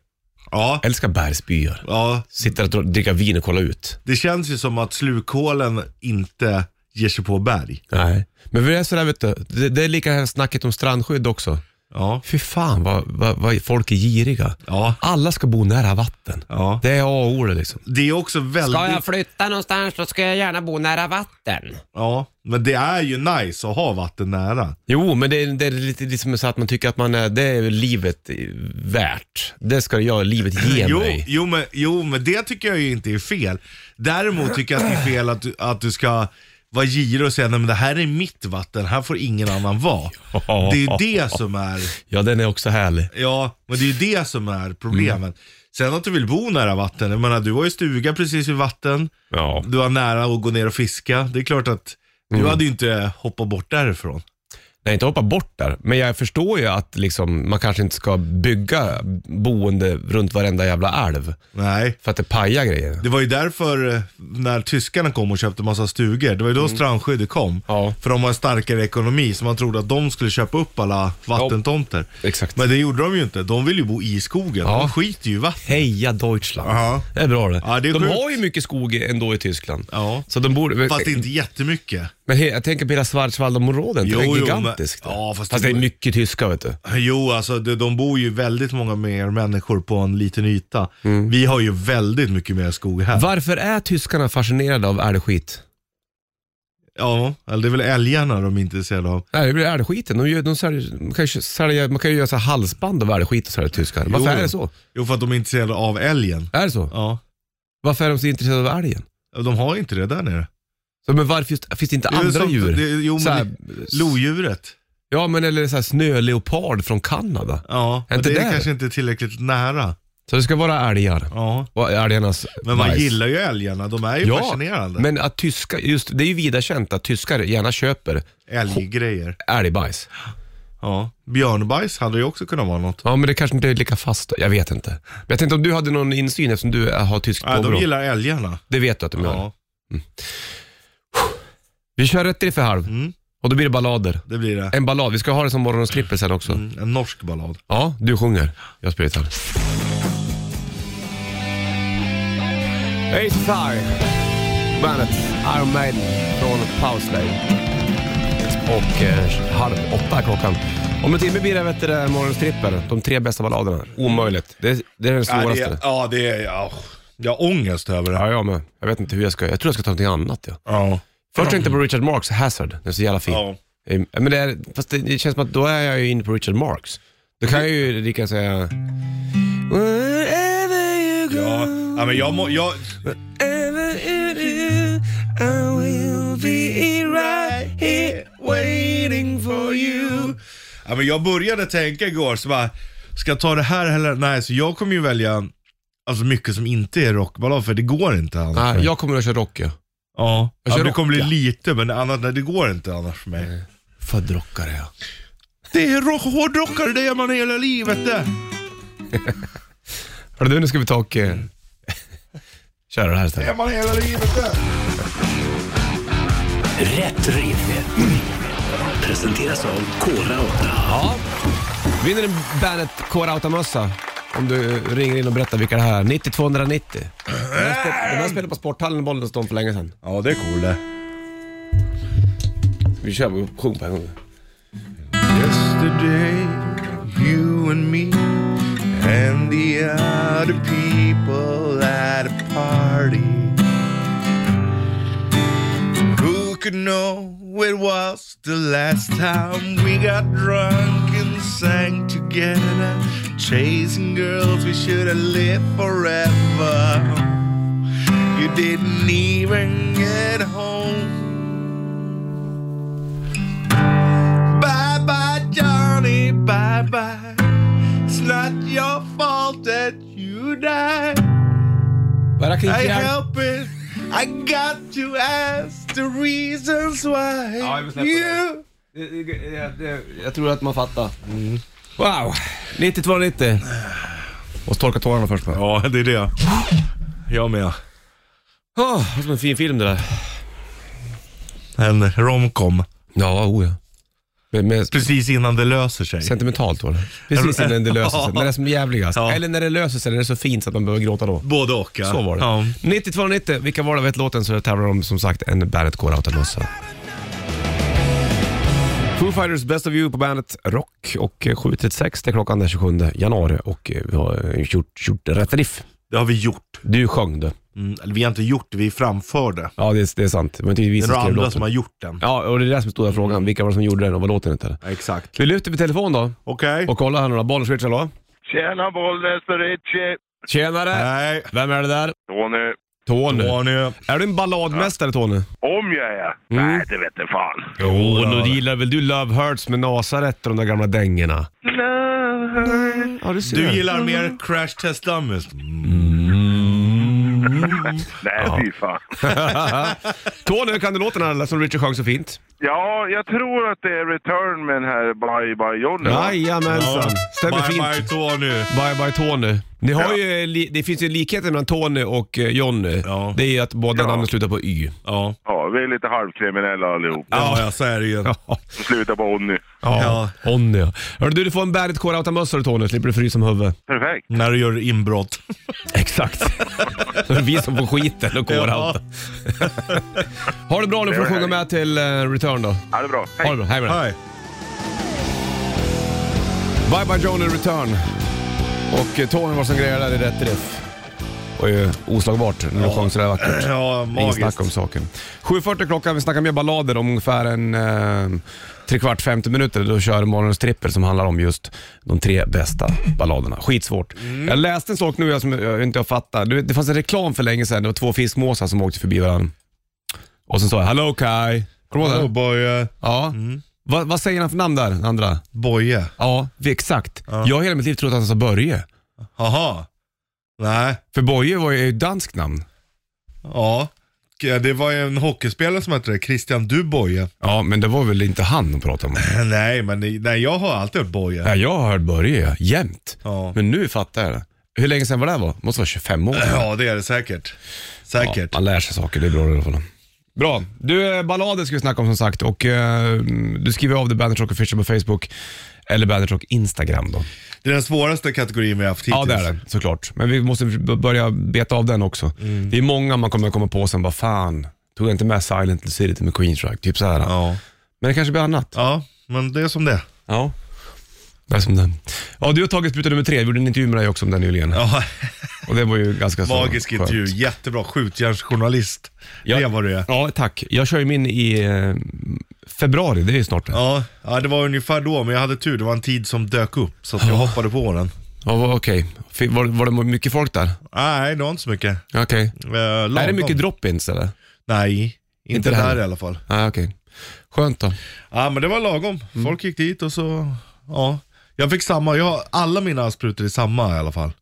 Speaker 3: Ja,
Speaker 2: Älskar bergsbyar.
Speaker 3: ja,
Speaker 2: Sitta och dra- dricka vin och kolla ut.
Speaker 3: det känns ju som att slukhålen inte ger sig på berg.
Speaker 2: Nej. Men det är sådär vet du, det, det är lika här snacket om strandskydd också.
Speaker 3: Ja,
Speaker 2: Fy fan vad, vad, vad folk är giriga.
Speaker 3: ja,
Speaker 2: Alla ska bo nära vatten.
Speaker 3: ja.
Speaker 2: Det är A och O det liksom.
Speaker 3: Det är också väldigt,
Speaker 2: flytta någonstans så ska jag gärna bo nära vatten.
Speaker 3: ja, men det är ju nice att ha vatten nära.
Speaker 2: Jo, men det, är- det är lite liksom så att man tycker att man är, det är livet värt. Det ska jag, livet ge
Speaker 3: Jo,
Speaker 2: mig.
Speaker 3: jo, men, jo, men det tycker jag ju inte är fel. Däremot tycker jag att det är fel att du, att du ska vara girig och säga nej men det här är mitt vatten, här får ingen annan vara. Det är ju det som är,
Speaker 2: Ja, den är också härlig.
Speaker 3: ja, men det är ju det som är problemet.
Speaker 2: Mm.
Speaker 3: Sen att du vill bo nära vatten, jag menar du har ju stuga precis vid vatten,
Speaker 2: Ja.
Speaker 3: du har nära att gå ner och fiska. Det är klart att du
Speaker 2: Mm.
Speaker 3: hade ju inte hoppat bort därifrån.
Speaker 2: Nej, inte hoppa bort där. Men jag förstår ju att liksom, man kanske inte ska bygga boende runt varenda jävla älv.
Speaker 3: Nej.
Speaker 2: För att det pajar grejer.
Speaker 3: Det var ju därför eh, när tyskarna kom och köpte massa stugor, det var ju då strandskyddet kom.
Speaker 2: Mm. Ja.
Speaker 3: För de har en starkare ekonomi, så man trodde att de skulle köpa upp alla vattentomter.
Speaker 2: Exakt.
Speaker 3: Men det gjorde de ju inte, de vill ju bo i skogen,
Speaker 2: Ja.
Speaker 3: de skiter ju i vatten.
Speaker 2: Heja Deutschland.
Speaker 3: Ja.
Speaker 2: Det är bra det.
Speaker 3: Ja, det är
Speaker 2: de
Speaker 3: sjukt.
Speaker 2: har ju mycket skog ändå i Tyskland.
Speaker 3: Ja.
Speaker 2: Så de borde... Men,
Speaker 3: Fast inte jättemycket.
Speaker 2: men he, jag tänker på hela Schwarzwaldområdet.
Speaker 3: Jo,
Speaker 2: Det är
Speaker 3: jo,
Speaker 2: gigantiskt.
Speaker 3: men- ja, fast-
Speaker 2: fast det är mycket tyska vet du.
Speaker 3: Jo, alltså de, de bor ju väldigt många mer människor på en liten yta.
Speaker 2: Mm.
Speaker 3: Vi har ju väldigt mycket mer skog här.
Speaker 2: Varför är tyskarna fascinerade av älgskit?
Speaker 3: Ja, eller det är väl älgarna de är intresserade av.
Speaker 2: Nej, det blir älgskiten. De, gör, de, säljer, man, kan ju, sälja, man kan ju göra så här halsband av älgskit och sälja till tyskar. Varför
Speaker 3: Jo.
Speaker 2: är det så?
Speaker 3: Jo, för att de är intresserade av älgen.
Speaker 2: Är det så?
Speaker 3: Ja,
Speaker 2: Varför är de så intresserade av älgen?
Speaker 3: de har inte det där nere.
Speaker 2: Så, men varför just, finns det inte
Speaker 3: Det är
Speaker 2: andra
Speaker 3: som-
Speaker 2: djur?
Speaker 3: det- jo, men
Speaker 2: så här,
Speaker 3: det- Lodjuret.
Speaker 2: Ja, men eller så här snöleopard från Kanada.
Speaker 3: Ja, men
Speaker 2: inte
Speaker 3: det är
Speaker 2: där?
Speaker 3: kanske inte tillräckligt nära.
Speaker 2: Så det ska vara älgar.
Speaker 3: Ja.
Speaker 2: Och älgarnas
Speaker 3: Men man
Speaker 2: bajs.
Speaker 3: gillar ju älgarna, de är ju fascinerande.
Speaker 2: men att tyska, just, det är ju vida känt att tyskar gärna köper
Speaker 3: Älggrejer.
Speaker 2: älgbajs.
Speaker 3: Ja. Björnbajs hade ju också kunnat vara något.
Speaker 2: Ja, men det kanske inte är lika fast. Jag vet inte. Men jag tänkte om du hade någon insyn eftersom du har tyskt
Speaker 3: Nej,
Speaker 2: påbrå.
Speaker 3: de gillar älgarna.
Speaker 2: Det vet du att de gör.
Speaker 3: Ja,
Speaker 2: Vi kör rätt i för halv och då blir det ballader.
Speaker 3: det blir det.
Speaker 2: En ballad, vi ska ha det som morgonens trippel sen också.
Speaker 3: Mm, En norsk ballad.
Speaker 2: Ja, du sjunger. Jag spelar gitarr. Ace Thai, bandet Iron Maiden från Pausley. Och eh, halv åtta är klockan. Om en timme blir det vet du, det, morgonens trippel. De tre bästa balladerna. Omöjligt. Det, det är den
Speaker 3: Ja,
Speaker 2: svåraste.
Speaker 3: det är, ja, det är, ja. Jag har ångest över det.
Speaker 2: Ja, jag med. Jag vet inte hur jag ska... Jag tror jag ska ta någonting annat. Ja.
Speaker 3: Ja.
Speaker 2: Först tänkte jag på Richard Marx Hazard. Den är så jävla fin.
Speaker 3: Ja.
Speaker 2: Eh, Men det är, fast det, det känns som att då är jag ju inne på Richard Marx. Då kan jag ju lika gärna säga... Wherever you go,
Speaker 3: Ja, ja men jag må, jag,
Speaker 2: wherever you do, I will be right here waiting for you.
Speaker 3: ja, men jag började tänka igår, så bara, ska jag ta det här eller? Nej, så jag kommer ju välja alltså, mycket som inte är rockballad, för det går inte annars.
Speaker 2: Nej, Ah, jag kommer att köra rock ja.
Speaker 3: Ja,
Speaker 2: Jag
Speaker 3: ja
Speaker 2: kör
Speaker 3: det kommer bli
Speaker 2: rock,
Speaker 3: lite, men annat, nej, det går inte annars för mig.
Speaker 2: Född rockare ja.
Speaker 3: Det är rock, hårdrockare, det är man hela livet det.
Speaker 2: Hörru du, nu ska vi ta och... eh, köra det här
Speaker 3: Det är
Speaker 2: istället.
Speaker 3: man hela livet det.
Speaker 1: Rätt riff. Presenteras av Kora 8.
Speaker 2: Ja. Vinner en Bandet K-Rauta-mössa om du ringer in och berättar vilka det här är. 90 290. Den här spe- den här spelade på Sporthallen i Bollnäsdom för länge sedan.
Speaker 3: Ja, det är cool det.
Speaker 2: Vi kör, vi sjung på en gång.
Speaker 3: yesterday, you and me, and the other people at a party. Who could know it was the last time we got drunk and sang together, chasing girls we should have lived forever. You didn't even get home. Bye bye, Johnny, bye bye. It's not your fault that you died.
Speaker 2: But I can
Speaker 3: I
Speaker 2: hear-
Speaker 3: help it. I got to ask the reasons why
Speaker 2: Ja, vi släpper
Speaker 3: you.
Speaker 2: Jag tror att man fattar. Wow, 9290. Måste torka tårarna först bara.
Speaker 3: Ja, det är det. Jag med.
Speaker 2: Oh, det är som en fin film det där.
Speaker 3: En romcom.
Speaker 2: Ja, oh ja. Med, med
Speaker 3: Precis innan det löser sig.
Speaker 2: sentimentalt var det. Precis innan det löser sig, när det är som jävligast.
Speaker 3: Ja.
Speaker 2: Eller när det löser sig, när det är så fint så att man behöver gråta då.
Speaker 3: Både och ja.
Speaker 2: Så var det.
Speaker 3: Ja.
Speaker 2: 9290, vilka var det vet låten så det tävlar om som sagt en Bandet Core Out Mössa. Foo Fighters Best of You på Bandet Rock och eh, 7.36 det är klockan den 27 januari och eh, vi har eh, gjort, gjort rätt riff.
Speaker 3: Det har vi gjort.
Speaker 2: Du sjöng du.
Speaker 3: Mm, eller vi har inte gjort det, vi framförde.
Speaker 2: Ja det är, det är sant. Det var inte vi
Speaker 3: Det är
Speaker 2: som
Speaker 3: några
Speaker 2: skrev
Speaker 3: andra
Speaker 2: låten.
Speaker 3: som har gjort den.
Speaker 2: Ja och det är det som är stora frågan. Vilka var det som gjorde den och vad låten hette?
Speaker 3: Exakt.
Speaker 2: Vi lyfter på telefon då
Speaker 3: Okej.
Speaker 2: och kollar här nu då. Bollenswitch hallå?
Speaker 6: Tjena Bollnäs och Richie!
Speaker 2: Tjenare!
Speaker 3: Nej.
Speaker 2: Vem är det där?
Speaker 6: Tony.
Speaker 2: Tony.
Speaker 3: Tony.
Speaker 2: Är du en balladmästare Tony? Mm.
Speaker 6: Om jag är? Nej, det vet jag fan.
Speaker 2: Jo, oh, nu gillar väl du Love Hurts med Nasaret och de där gamla dängorna? Ja, du ser.
Speaker 3: Du gillar mer Crash Test Dummies?
Speaker 2: Mm.
Speaker 6: Nej, fy fan.
Speaker 2: Tony, kan du låten här som Richard sjöng så fint?
Speaker 6: Ja, jag tror att det är Return med den här Bye Bye Johnny. va?
Speaker 2: Jajamensan, stämmer
Speaker 3: bye
Speaker 2: fint.
Speaker 3: Bye Tony.
Speaker 2: Bye bye Tony. Ni har ju, li- det finns ju likheter mellan Tony och eh, Johnny.
Speaker 3: Ja.
Speaker 2: Det är ju att båda
Speaker 6: Ja.
Speaker 2: namnen slutar på Y.
Speaker 3: Ja.
Speaker 6: Ja, vi är lite halvkriminella allihop.
Speaker 3: Ja, ja, så är det ju.
Speaker 2: Ja.
Speaker 6: Sluta på Onny.
Speaker 2: ja. Onny ja. Hörru du, du får en Bandet Core Outta-mössa du, Tony, slipper du frysa om huvudet.
Speaker 6: Perfekt.
Speaker 3: När du gör inbrott.
Speaker 2: Exakt. Då är det vi som får skiten och Core
Speaker 3: Ja.
Speaker 2: Outa. ha det bra nu får du
Speaker 6: Det var
Speaker 2: sjunga med till eh, Return då.
Speaker 6: Ha det bra.
Speaker 2: Ha det
Speaker 6: Hej.
Speaker 2: bra, hej med dig.
Speaker 3: Hej.
Speaker 2: Bye bye Johnny Return. Och eh, Tony var som grejade där i rätt riff. Och ju oslagbart när du sjöng sådär vackert.
Speaker 3: Ja,
Speaker 2: Inget
Speaker 3: magiskt.
Speaker 2: snack om saken. 7.40 klockan, vi snackar mer ballader om ungefär en eh, tre kvart, 50 minuter. Då kör morgonens trippel som handlar om just de tre bästa balladerna. Skitsvårt. Jag läste en sak nu jag, som jag inte jag fattar. Du vet, Det fanns en reklam för länge sedan, det var två fiskmåsar som åkte förbi varandra. Och sen sa jag “Hello Kai”. Kommer du ihåg
Speaker 3: Oh,
Speaker 2: den?
Speaker 3: boy,
Speaker 2: Ja. Va, vad säger han för namn där, den andra?
Speaker 3: Boje.
Speaker 2: Ja, vi- exakt. Jag har hela mitt liv trott att han sa Börje.
Speaker 3: Jaha. Nej.
Speaker 2: För Boje var ju ett danskt namn.
Speaker 3: Ja. Ja, Det var ju en hockeyspelare som hette det, Christian Du Boje.
Speaker 2: Ja, men det var väl inte han de pratade om?
Speaker 3: Nej, men nej, jag har alltid hört Boje.
Speaker 2: Nej, jag har hört Börje ja, jämt.
Speaker 3: Ja.
Speaker 2: Men nu fattar jag det. Hur länge sedan var det här var? Måste vara 25 år.
Speaker 3: Ja, det är det säkert.
Speaker 2: Ja,
Speaker 3: Säkert.
Speaker 2: man lär sig saker, det är bra i alla fall. Bra. Du, eh, ballader ska vi snacka om som sagt och eh, du skriver av det Bandit Rock Official på Facebook eller Bandit Rock Instagram då.
Speaker 3: Det är den svåraste kategorin vi har haft hittills.
Speaker 2: Ja, det är det såklart. Men vi måste b- börja beta av den också. Det är många man kommer komma på sen, vad fan, tog jag inte med Silent Lucidity med Queenstrike? Typ så här.
Speaker 3: Ja.
Speaker 2: Men det kanske blir annat.
Speaker 3: ja, men det är som det är.
Speaker 2: Ja. Det är som den. Ja, du har tagit spruta nummer tre. Vi gjorde en intervju med dig också om den nyligen.
Speaker 3: Ja,
Speaker 2: Och det var ju ganska så
Speaker 3: magisk
Speaker 2: skönt.
Speaker 3: intervju. Jättebra. Skjutjärnsjournalist.
Speaker 2: Ja.
Speaker 3: Det var du är.
Speaker 2: Ja, tack. Jag kör ju min i eh, februari, det är ju snart. Ja.
Speaker 3: Ja, ja, det var ungefär då, men jag hade tur. Det var en tid som dök upp, så att jag hoppade på den.
Speaker 2: vad- Okej. F- Var, var det mycket folk där?
Speaker 3: Nej, det var inte så mycket.
Speaker 2: Okej.
Speaker 3: Eh,
Speaker 2: Är det
Speaker 3: lagom.
Speaker 2: mycket drop-ins eller?
Speaker 3: Nej, inte,
Speaker 2: Inte det
Speaker 3: där
Speaker 2: heller.
Speaker 3: i alla fall.
Speaker 2: Nej, okej. Skönt då.
Speaker 3: Ja, men det var lagom.
Speaker 2: Mm.
Speaker 3: Folk gick dit och så, ja. Jag fick samma, jag har alla mina sprutor är samma i alla fall.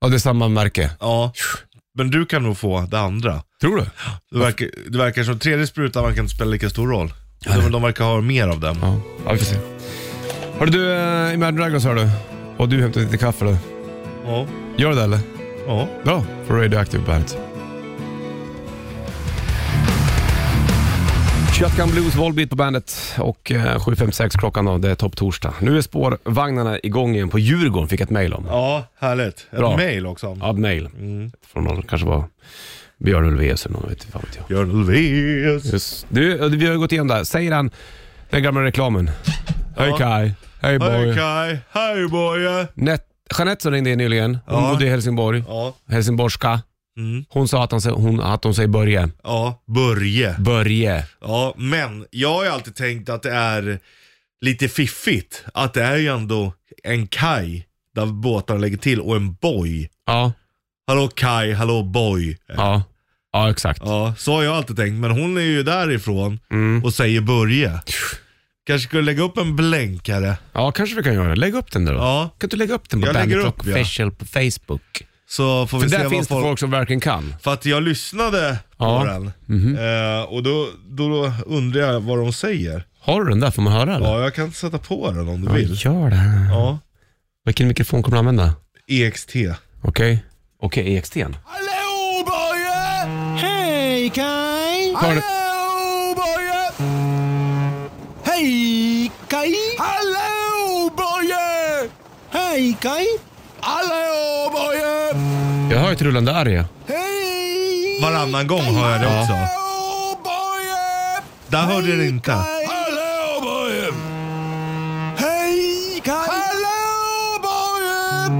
Speaker 2: Ja, det är samma märke.
Speaker 3: Ja, men du kan nog få det andra.
Speaker 2: Tror du?
Speaker 3: Det verkar, det verkar som tredje sprutan verkar inte spela lika stor roll. De, de verkar ha mer av den.
Speaker 2: Ja, ja vi får se. Hörru du, eh, Imagine Dragons hör du. Och du hämtar lite kaffe då.
Speaker 3: Ja,
Speaker 2: Gör du det eller?
Speaker 3: ja.
Speaker 2: Bra. För Radioactive Bandet. Shotgun Blues, Volbeat på bandet och eh, 7.56 klockan då, det är topp torsdag. Nu är spårvagnarna igång igen på Djurgården, fick jag ett mejl om.
Speaker 3: ja härligt. Ett
Speaker 2: Bra.
Speaker 3: mail också.
Speaker 2: Ja, ett mejl.
Speaker 3: Mm.
Speaker 2: Från någon, kanske var Björn Ulvaeus eller någon, vet inte fan vet jag. eh,
Speaker 3: Björn Ulvaeus.
Speaker 2: Just. Du, vi har ju gått igenom det här. Säger han den gamla reklamen? Hej Kaj. Hej
Speaker 3: Hej
Speaker 2: boy.
Speaker 3: Kaj, hej boje.
Speaker 2: Net, Jeanette som ringde in nyligen, hon
Speaker 3: Ja.
Speaker 2: bodde i Helsingborg,
Speaker 3: Ja,
Speaker 2: helsingborska.
Speaker 3: Mm.
Speaker 2: Hon sa att, han, sä- hon, att hon säger Börje.
Speaker 3: ja, Börje.
Speaker 2: Börje.
Speaker 3: Ja, men jag har ju alltid tänkt att det är lite fiffigt. Att det är ju ändå en kaj där båtarna lägger till och en boj.
Speaker 2: Ja,
Speaker 3: Hallå kaj, hallå boj.
Speaker 2: ja. Ja, exakt.
Speaker 3: Ja, så har jag alltid tänkt. Men hon är ju därifrån
Speaker 2: Mm.
Speaker 3: och säger Börje. Kanske skulle lägga upp en blänkare.
Speaker 2: Ja, kanske vi kan göra. Lägg upp den där då.
Speaker 3: Ja.
Speaker 2: Kan du lägga upp den på
Speaker 3: Jag lägger
Speaker 2: Bandit
Speaker 3: upp,
Speaker 2: Rock
Speaker 3: ja.
Speaker 2: official på Facebook?
Speaker 3: Så får vi
Speaker 2: För
Speaker 3: se
Speaker 2: där
Speaker 3: vad
Speaker 2: finns det
Speaker 3: folk...
Speaker 2: folk som verkligen kan.
Speaker 3: För att jag lyssnade på
Speaker 2: Ja. Mhm.
Speaker 3: den. Eh, och då, då undrar jag vad de säger.
Speaker 2: Har du den där? Får man höra eller?
Speaker 3: Ja, jag kan sätta på den om du
Speaker 2: Ja,
Speaker 3: vill.
Speaker 2: gör det.
Speaker 3: Ja. E
Speaker 2: Vilken mikrofon kommer du använda?
Speaker 3: EXT.
Speaker 2: Okej. Okej, E okay, EXT. Hallå Börje! Hej Kaj! Hallå Börje! Hej Kaj! Hallå Börje! Hej Kaj! Hallå Börje! Jag hör ett rullande arg. ja.
Speaker 3: Varannan gång hör jag det också. Där hörde jag det inte.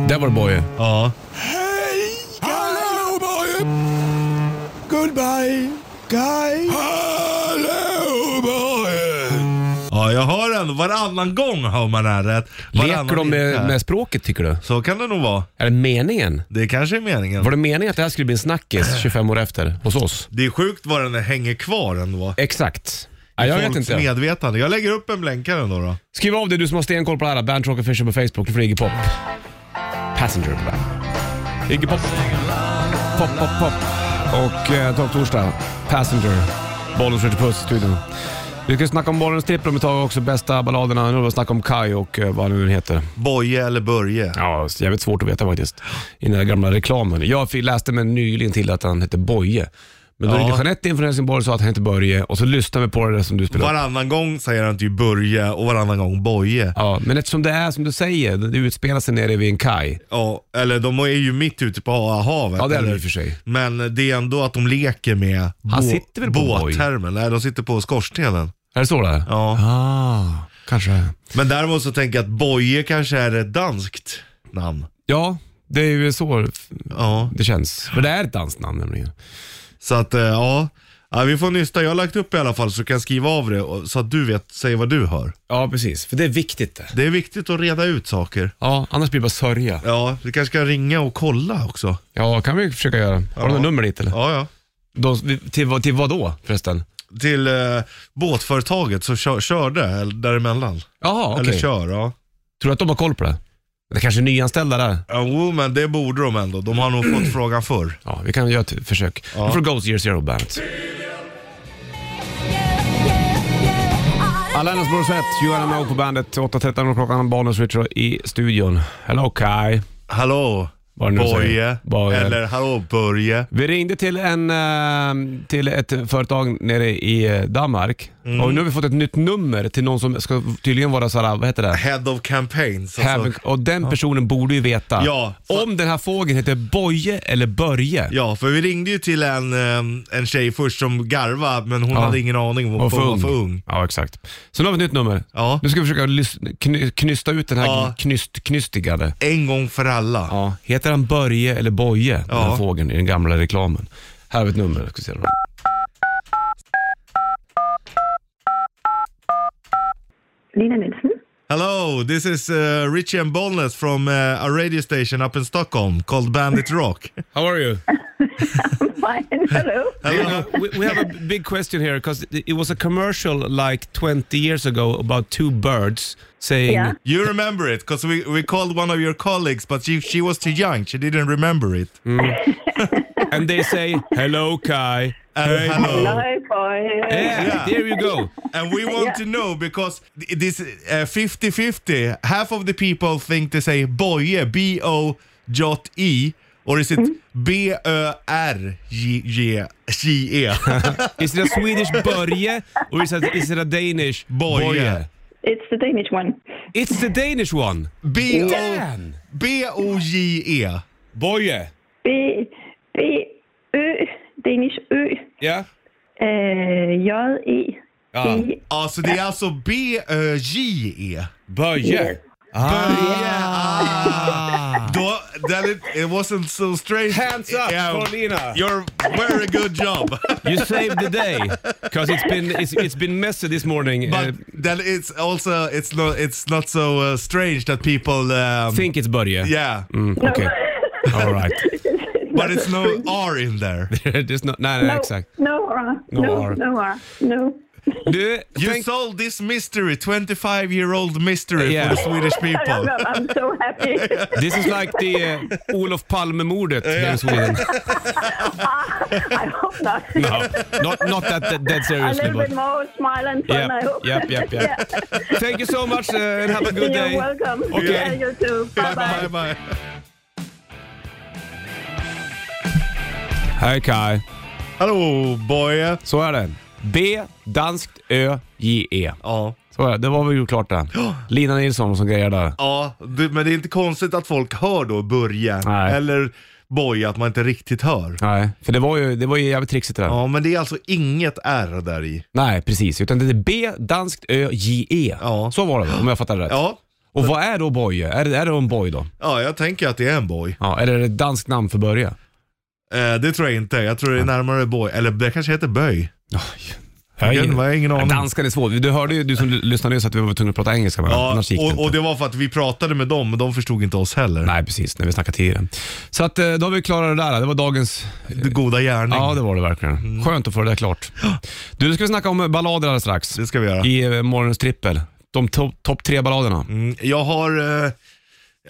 Speaker 2: Där var det Boje.
Speaker 3: Ja. Ja, jag hör ändå. Varannan gång hör man det här rätt. Varannan
Speaker 2: Leker de med,
Speaker 3: inte.
Speaker 2: med språket tycker du?
Speaker 3: Så kan det nog vara.
Speaker 2: Är det meningen?
Speaker 3: Det kanske är meningen.
Speaker 2: Var det meningen att det här skulle bli en snackis 25 år efter hos oss?
Speaker 3: Det är sjukt vad den hänger kvar ändå.
Speaker 2: Exakt. Ja, jag vet
Speaker 3: Folks
Speaker 2: inte.
Speaker 3: medvetande. Jag lägger upp en blänkare ändå då.
Speaker 2: Skriv av dig du som har stenkoll på det här. Bandrock Official på Facebook. Du får Iggy Pop. Passenger på bandet. Iggy Pop. Pop, pop, pop. Och eh, Topp Torsdag. Passenger. Bollens Ritchie Puss i studion. Vi ska snacka om Bollens trippel om ett tag också. Bästa balladerna. Nu har vi snackat om Kai och eh, vad han nu heter.
Speaker 3: Boje eller Börje.
Speaker 2: Ja, så jävligt svårt att veta faktiskt. I den där gamla reklamen. Jag fick- läste mig nyligen till att han hette Boje. Men då
Speaker 3: Ja.
Speaker 2: ringde Jeanette in från Helsingborg och sa att han hette Börje och så lyssnade vi på det där som du spelade upp.
Speaker 3: Varannan gång säger han typ Börje och varannan gång Boje.
Speaker 2: Ja, men eftersom det är som du säger, det utspelar sig nere vid en kaj.
Speaker 3: Ja, eller de är ju mitt ute på havet.
Speaker 2: Ja, det är de
Speaker 3: eller?
Speaker 2: i och för sig.
Speaker 3: Men det är ändå att de leker med
Speaker 2: Han sitter väl på en boj?
Speaker 3: båttermen. Nej, de sitter på skorstenen.
Speaker 2: Är det så det är?
Speaker 3: Ja.
Speaker 2: Ah, kanske.
Speaker 3: Men däremot så tänker jag att Boje kanske är ett danskt namn.
Speaker 2: Ja, det är ju så
Speaker 3: Ja,
Speaker 2: det känns. För det är ett dansnamn nämligen.
Speaker 3: så att eh, ja. ja vi får nysta. Jag har lagt upp i alla fall så du kan skriva av det och- så att du vet, säg vad du hör.
Speaker 2: Ja, precis. För det är viktigt det.
Speaker 3: Det är viktigt att reda ut saker.
Speaker 2: Ja, annars blir det bara sörja.
Speaker 3: Ja, du kanske ska ringa och kolla också.
Speaker 2: Ja, kan vi försöka göra. Har du något nummer dit eller?
Speaker 3: Ja, ja.
Speaker 2: De, till, vad- till vad då förresten?
Speaker 3: Till eh, båtföretaget som kör, körde eller däremellan.
Speaker 2: Jaha, okej.
Speaker 3: Eller kör, ja.
Speaker 2: Tror du att de har koll på det? Det kanske är nyanställda där.
Speaker 3: Jo, men det borde de ändå. De har nog fått frågan förr.
Speaker 2: Ja, vi kan göra ett försök.
Speaker 3: Ja.
Speaker 2: Då får Ghost Year Zero Bandet. Alanis Morissette, You and I Know på bandet. 8.13 klockan, Bonus Richard i studion. Hello Kai.
Speaker 3: Hallå
Speaker 2: Vad det nu säger.
Speaker 3: Boje.
Speaker 2: Boje.
Speaker 3: Eller hallå Börje.
Speaker 2: Vi ringde till, en, eh, till ett företag nere i eh, Danmark
Speaker 3: Mm.
Speaker 2: och nu har vi fått ett nytt nummer till någon som ska tydligen vara såhär, vad heter det?
Speaker 3: Head of campaigns.
Speaker 2: Havoc. Och den personen borde ju veta
Speaker 3: Ja, för-
Speaker 2: om den här fågeln heter Boje eller Börje.
Speaker 3: Ja, för vi ringde ju till en, eh, en tjej först som garva men hon
Speaker 2: Ja.
Speaker 3: hade ingen aning om
Speaker 2: Och
Speaker 3: hon
Speaker 2: för
Speaker 3: var
Speaker 2: ung.
Speaker 3: för ung.
Speaker 2: Ja, exakt. Så nu har vi ett nytt nummer.
Speaker 3: Ja.
Speaker 2: Nu ska vi försöka lys- kny- knysta ut den här
Speaker 3: Ja.
Speaker 2: knyst, knystigade.
Speaker 3: En gång för alla.
Speaker 2: Ja. Heter han Börje eller Boje, den här
Speaker 3: Ja.
Speaker 2: fågeln i den gamla reklamen? Här har vi ett nummer. Ska vi se då.
Speaker 7: Lina Nilsson.
Speaker 3: Hello, this is uh, Richie and Bonnet from uh, a radio station up in Stockholm called Bandit Rock.
Speaker 2: How are you?
Speaker 7: Fine, hello.
Speaker 3: Hello.
Speaker 2: we, we have a big question here because it was a commercial like 20 years ago about two birds saying...
Speaker 7: Yeah.
Speaker 3: You remember it because we, we called one of your colleagues but she, she was too young. She didn't remember it.
Speaker 2: Mm. And they say, hello Kai.
Speaker 3: And hello.
Speaker 7: Hello, boy.
Speaker 2: Yeah,
Speaker 3: Yeah.
Speaker 2: there you go.
Speaker 3: And we want to know because th- this uh, 50-50, half of the people think they say boje, B-O-J-E, E, or is it B-Ö-R-J-E?
Speaker 2: Is it a Swedish Börje or is it, is it a Danish
Speaker 3: Boje.
Speaker 7: It's the Danish one.
Speaker 2: It's the Danish one.
Speaker 3: B-O-
Speaker 2: Damn!
Speaker 3: B-O-J-E.
Speaker 2: Boje.
Speaker 7: B, B, Ø, Danish Ø,
Speaker 2: Ja.
Speaker 7: øh, J, E,
Speaker 2: Ah,
Speaker 8: Ja.
Speaker 7: B-
Speaker 3: Ja, så det är alltså B-Ö-J-E.
Speaker 8: Böje.
Speaker 3: Böje. Ah. Då, that it, it wasn't so strange.
Speaker 2: Hands up,
Speaker 3: Yeah,
Speaker 2: Paulina.
Speaker 3: You're very good job.
Speaker 2: You saved the day, because it's been, it's, it's been messy this morning.
Speaker 3: But
Speaker 2: Uh,
Speaker 3: then it's also it's not it's not so uh, strange that people um,
Speaker 2: think it's Börje.
Speaker 3: yeah,
Speaker 7: No.
Speaker 2: Okay. All right.
Speaker 3: but it's no R in there.
Speaker 2: There's no, nej, nej,
Speaker 7: No,
Speaker 2: exakt.
Speaker 7: no R.
Speaker 2: No
Speaker 7: No, no
Speaker 2: R.
Speaker 7: R. No.
Speaker 2: Du,
Speaker 3: You
Speaker 2: thank,
Speaker 3: solved this mystery, 25 year old mystery
Speaker 2: Yeah.
Speaker 3: for the Swedish
Speaker 7: I don't
Speaker 3: people.
Speaker 7: know. I'm so happy.
Speaker 2: this is like the uh, Olof Palme-mordet here in Sweden.
Speaker 7: I hope not.
Speaker 2: No, not, not that, that, that
Speaker 7: A
Speaker 2: seriously,
Speaker 7: little
Speaker 2: but
Speaker 7: bit more smile and fun,
Speaker 2: Yep,
Speaker 7: I hope.
Speaker 2: yep, yep, yep. thank you so much uh, and have a good
Speaker 7: You're
Speaker 2: day.
Speaker 7: welcome.
Speaker 2: Okay.
Speaker 7: Yeah, you too. Bye-bye.
Speaker 3: bye bye.
Speaker 2: Hej Kai.
Speaker 3: Hallå boy.
Speaker 2: Så är det. B, danskt, Ö, J, E.
Speaker 3: Ja.
Speaker 2: Så är det. Det var vi ju klart det. Lina Nilsson som grejer där.
Speaker 3: Ja, det, men det är inte konstigt att folk hör då börja
Speaker 2: Nej.
Speaker 3: eller boja att man inte riktigt hör.
Speaker 2: Nej, för det var ju, det var ju jävligt trixigt det där.
Speaker 3: Ja, men det är alltså inget R där i.
Speaker 2: Nej, precis. Utan det är B, danskt, Ö, J, E.
Speaker 3: Ja.
Speaker 2: Så var det om jag fattade rätt.
Speaker 3: Ja,
Speaker 2: Och vad är då Boje? Är det, är det en Boj då?
Speaker 3: ja jag tänker att det är en boj.
Speaker 2: Ja, eller är det ett danskt namn för Börje?
Speaker 3: Eh, det tror jag inte. Jag tror det är närmare boj. Eller det kanske heter böj.
Speaker 2: Jag
Speaker 3: Gud, vad jag har ingen aning.
Speaker 2: Danskan är svår. Du hörde ju, du som l- lyssnade nyss, att vi var tvungna att prata engelska med varandra.
Speaker 3: Ja,
Speaker 2: annars gick det inte.
Speaker 3: och, och det var för att vi pratade med dem, men de förstod inte oss heller.
Speaker 2: Nej, precis. När vi snackade tidigare. Så att, eh, då har vi klarat det där. Det var dagens...
Speaker 3: Det goda gärning.
Speaker 2: Ja, det var det
Speaker 3: Mm.
Speaker 2: verkligen. Skönt att få det där klart. Du, nu ska vi snacka om ballader alldeles strax.
Speaker 3: Det ska vi göra.
Speaker 2: I eh, morgonens trippel. De to- topp tre balladerna.
Speaker 3: Mm, Jag har... eh,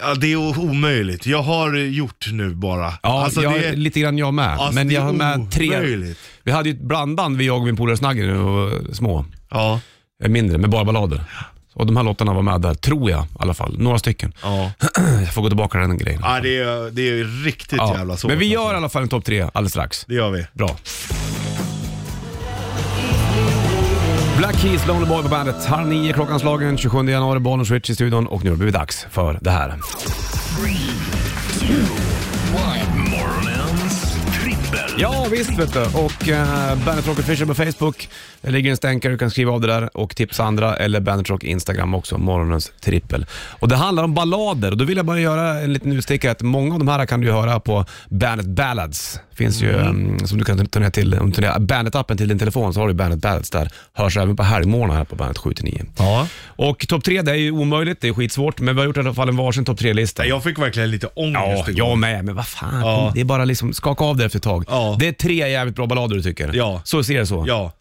Speaker 3: Ja, det är o- omöjligt. Jag har eh, gjort nu bara.
Speaker 2: Ja,
Speaker 3: Alltså,
Speaker 2: jag,
Speaker 3: det är-
Speaker 2: lite grann jag med.
Speaker 3: Alltså,
Speaker 2: Men
Speaker 3: det är
Speaker 2: jag har med tre.
Speaker 3: omöjligt.
Speaker 2: Vi hade ju ett blandband, vi, jag och min polare Snagger, när vi var små.
Speaker 3: Ja,
Speaker 2: Eh, Mindre, med bara ballader. Och de här låtarna var med där, tror jag i alla fall. Några stycken.
Speaker 3: ja.
Speaker 2: Jag får gå tillbaka till den grejen.
Speaker 3: ja det, är, det är riktigt
Speaker 2: Ja.
Speaker 3: jävla svårt.
Speaker 2: Men vi gör i
Speaker 3: alltså.
Speaker 2: alla fall en topp tre alldeles strax.
Speaker 3: Det gör vi.
Speaker 2: Bra. Black Keys, Lonely Boy på bandet. Halv nio klockan slagen, 27 januari, Bonus Switch i studion och nu har det blivit dags för det här.
Speaker 1: Morgonens trippel.
Speaker 2: Ja, visst vet du. Och eh, Bandet Rock Official på Facebook. Det ligger en stänkare, du kan skriva av det där och tipsa andra. Eller Bandet Rock Instagram också, morgonens trippel. Och det handlar om ballader och då vill jag bara göra en liten utstickare att många av de här kan du höra på Bandet Ballads. Finns ju, eh, som du kan ta ner till, om du tar ner Bandet-appen till din telefon så har du Bandet Ballads där. Hörs även på helgmorgnar här på Bandet 7 till 9.
Speaker 3: Ja.
Speaker 2: Och topp tre, det är ju omöjligt, det är skitsvårt, men vi har gjort i alla fall en varsin topp tre-lista.
Speaker 3: Jag fick verkligen lite ångest
Speaker 2: Ja,
Speaker 3: igår.
Speaker 2: jag med, men vad fan.
Speaker 3: Ja.
Speaker 2: Det är bara liksom, skaka av det efter ett tag.
Speaker 3: Ja.
Speaker 2: Det är tre jävligt bra ballader du tycker.
Speaker 3: Ja.
Speaker 2: Så ser det så.
Speaker 3: Ja.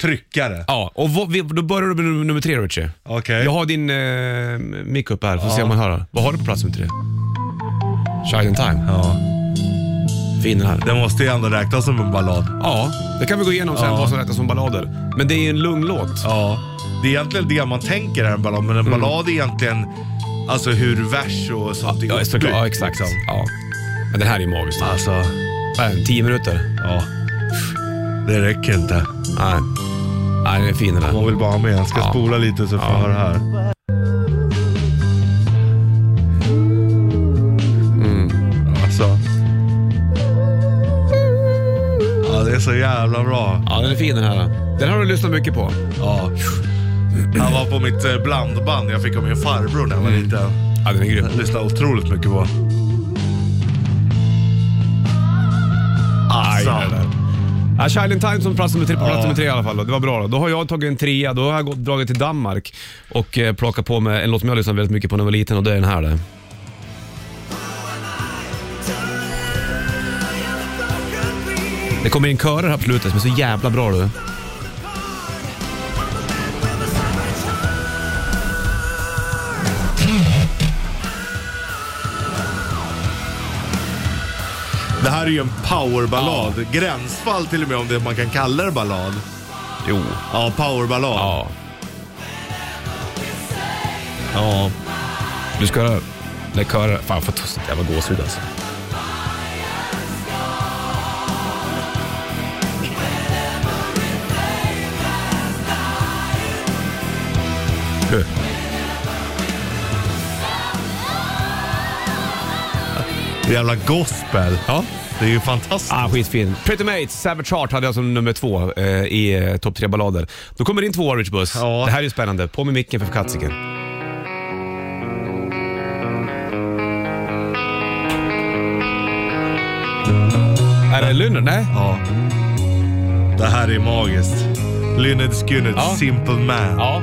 Speaker 3: Tryckare.
Speaker 2: Ja, och vad, vi- då börjar du med num- nummer tre Richie.
Speaker 3: Okej.
Speaker 2: Jag har din eh, mick upp här, får se om man hör. Vad har du på plats nummer tre? Child in time.
Speaker 3: Ja.
Speaker 2: Fin den här.
Speaker 3: Den måste ju ändå räknas som en ballad.
Speaker 2: Ja, det kan vi gå igenom sen
Speaker 3: Ja.
Speaker 2: vad som räknas som ballader. Men det är ju en lugn låt.
Speaker 3: Ja. Det är egentligen det man tänker är en ballad, men en
Speaker 2: Mm.
Speaker 3: ballad är egentligen alltså hur vers och sånt
Speaker 2: Ja, såklart. Ja, exakt.
Speaker 3: liksom.
Speaker 2: Ja. Men den här är ju magisk.
Speaker 3: Alltså,
Speaker 2: Vad är den? Tio minuter?
Speaker 3: ja. Det räcker inte.
Speaker 2: Nej. Nej, den är fin den här.
Speaker 3: Man vill bara ha med. Jag ska
Speaker 2: Ja.
Speaker 3: spola lite så får jag höra här.
Speaker 2: Mm.
Speaker 3: Alltså. Ja, det är så jävla bra.
Speaker 2: Ja, den är fin den här. Den har du lyssnat mycket på.
Speaker 3: Ja. Han var på mitt eh, blandband jag fick av min farbror när jag var
Speaker 2: Mm.
Speaker 3: liten.
Speaker 2: Ja, den är grym.
Speaker 3: Jag lyssnade otroligt mycket på.
Speaker 2: Aj,
Speaker 3: Alltså.
Speaker 2: det där. Ja, Child in Time som plats nummer tre, på plats
Speaker 3: Ja.
Speaker 2: nummer tre i alla fall. Då. Det var bra då. Då har jag tagit en trea. Då har jag gått, dragit till Danmark och eh, plockat på mig en låt som jag lyssnade väldigt mycket på när jag var liten och det är den här. Där. Det kommer in körer här på slutet som är så jävla bra du.
Speaker 3: Det här är ju en powerballad. Gränsfall till och med om det man kan kalla det ballad.
Speaker 2: Jo.
Speaker 3: Ja, powerballad.
Speaker 2: Ja. Ja. Du ska höra. Det körer. Fan, jag får t- sånt jävla gåshud alltså. Du.
Speaker 3: Jävla gospel.
Speaker 2: Ja.
Speaker 3: Det är ju fantastiskt.
Speaker 2: Ah, skitfin. Pretty Mates, Savage Heart hade jag som nummer två eh, i eh, topp tre ballader. Då kommer din tvåa Rich Buss.
Speaker 3: Ja.
Speaker 2: Det här är ju spännande. På med micken för katsiken. Är det Lynyrd? Nej?
Speaker 3: Ja. Det här är magiskt. Lynyrd Skynyrd,
Speaker 2: Ja.
Speaker 3: Simple Man.
Speaker 2: Ja.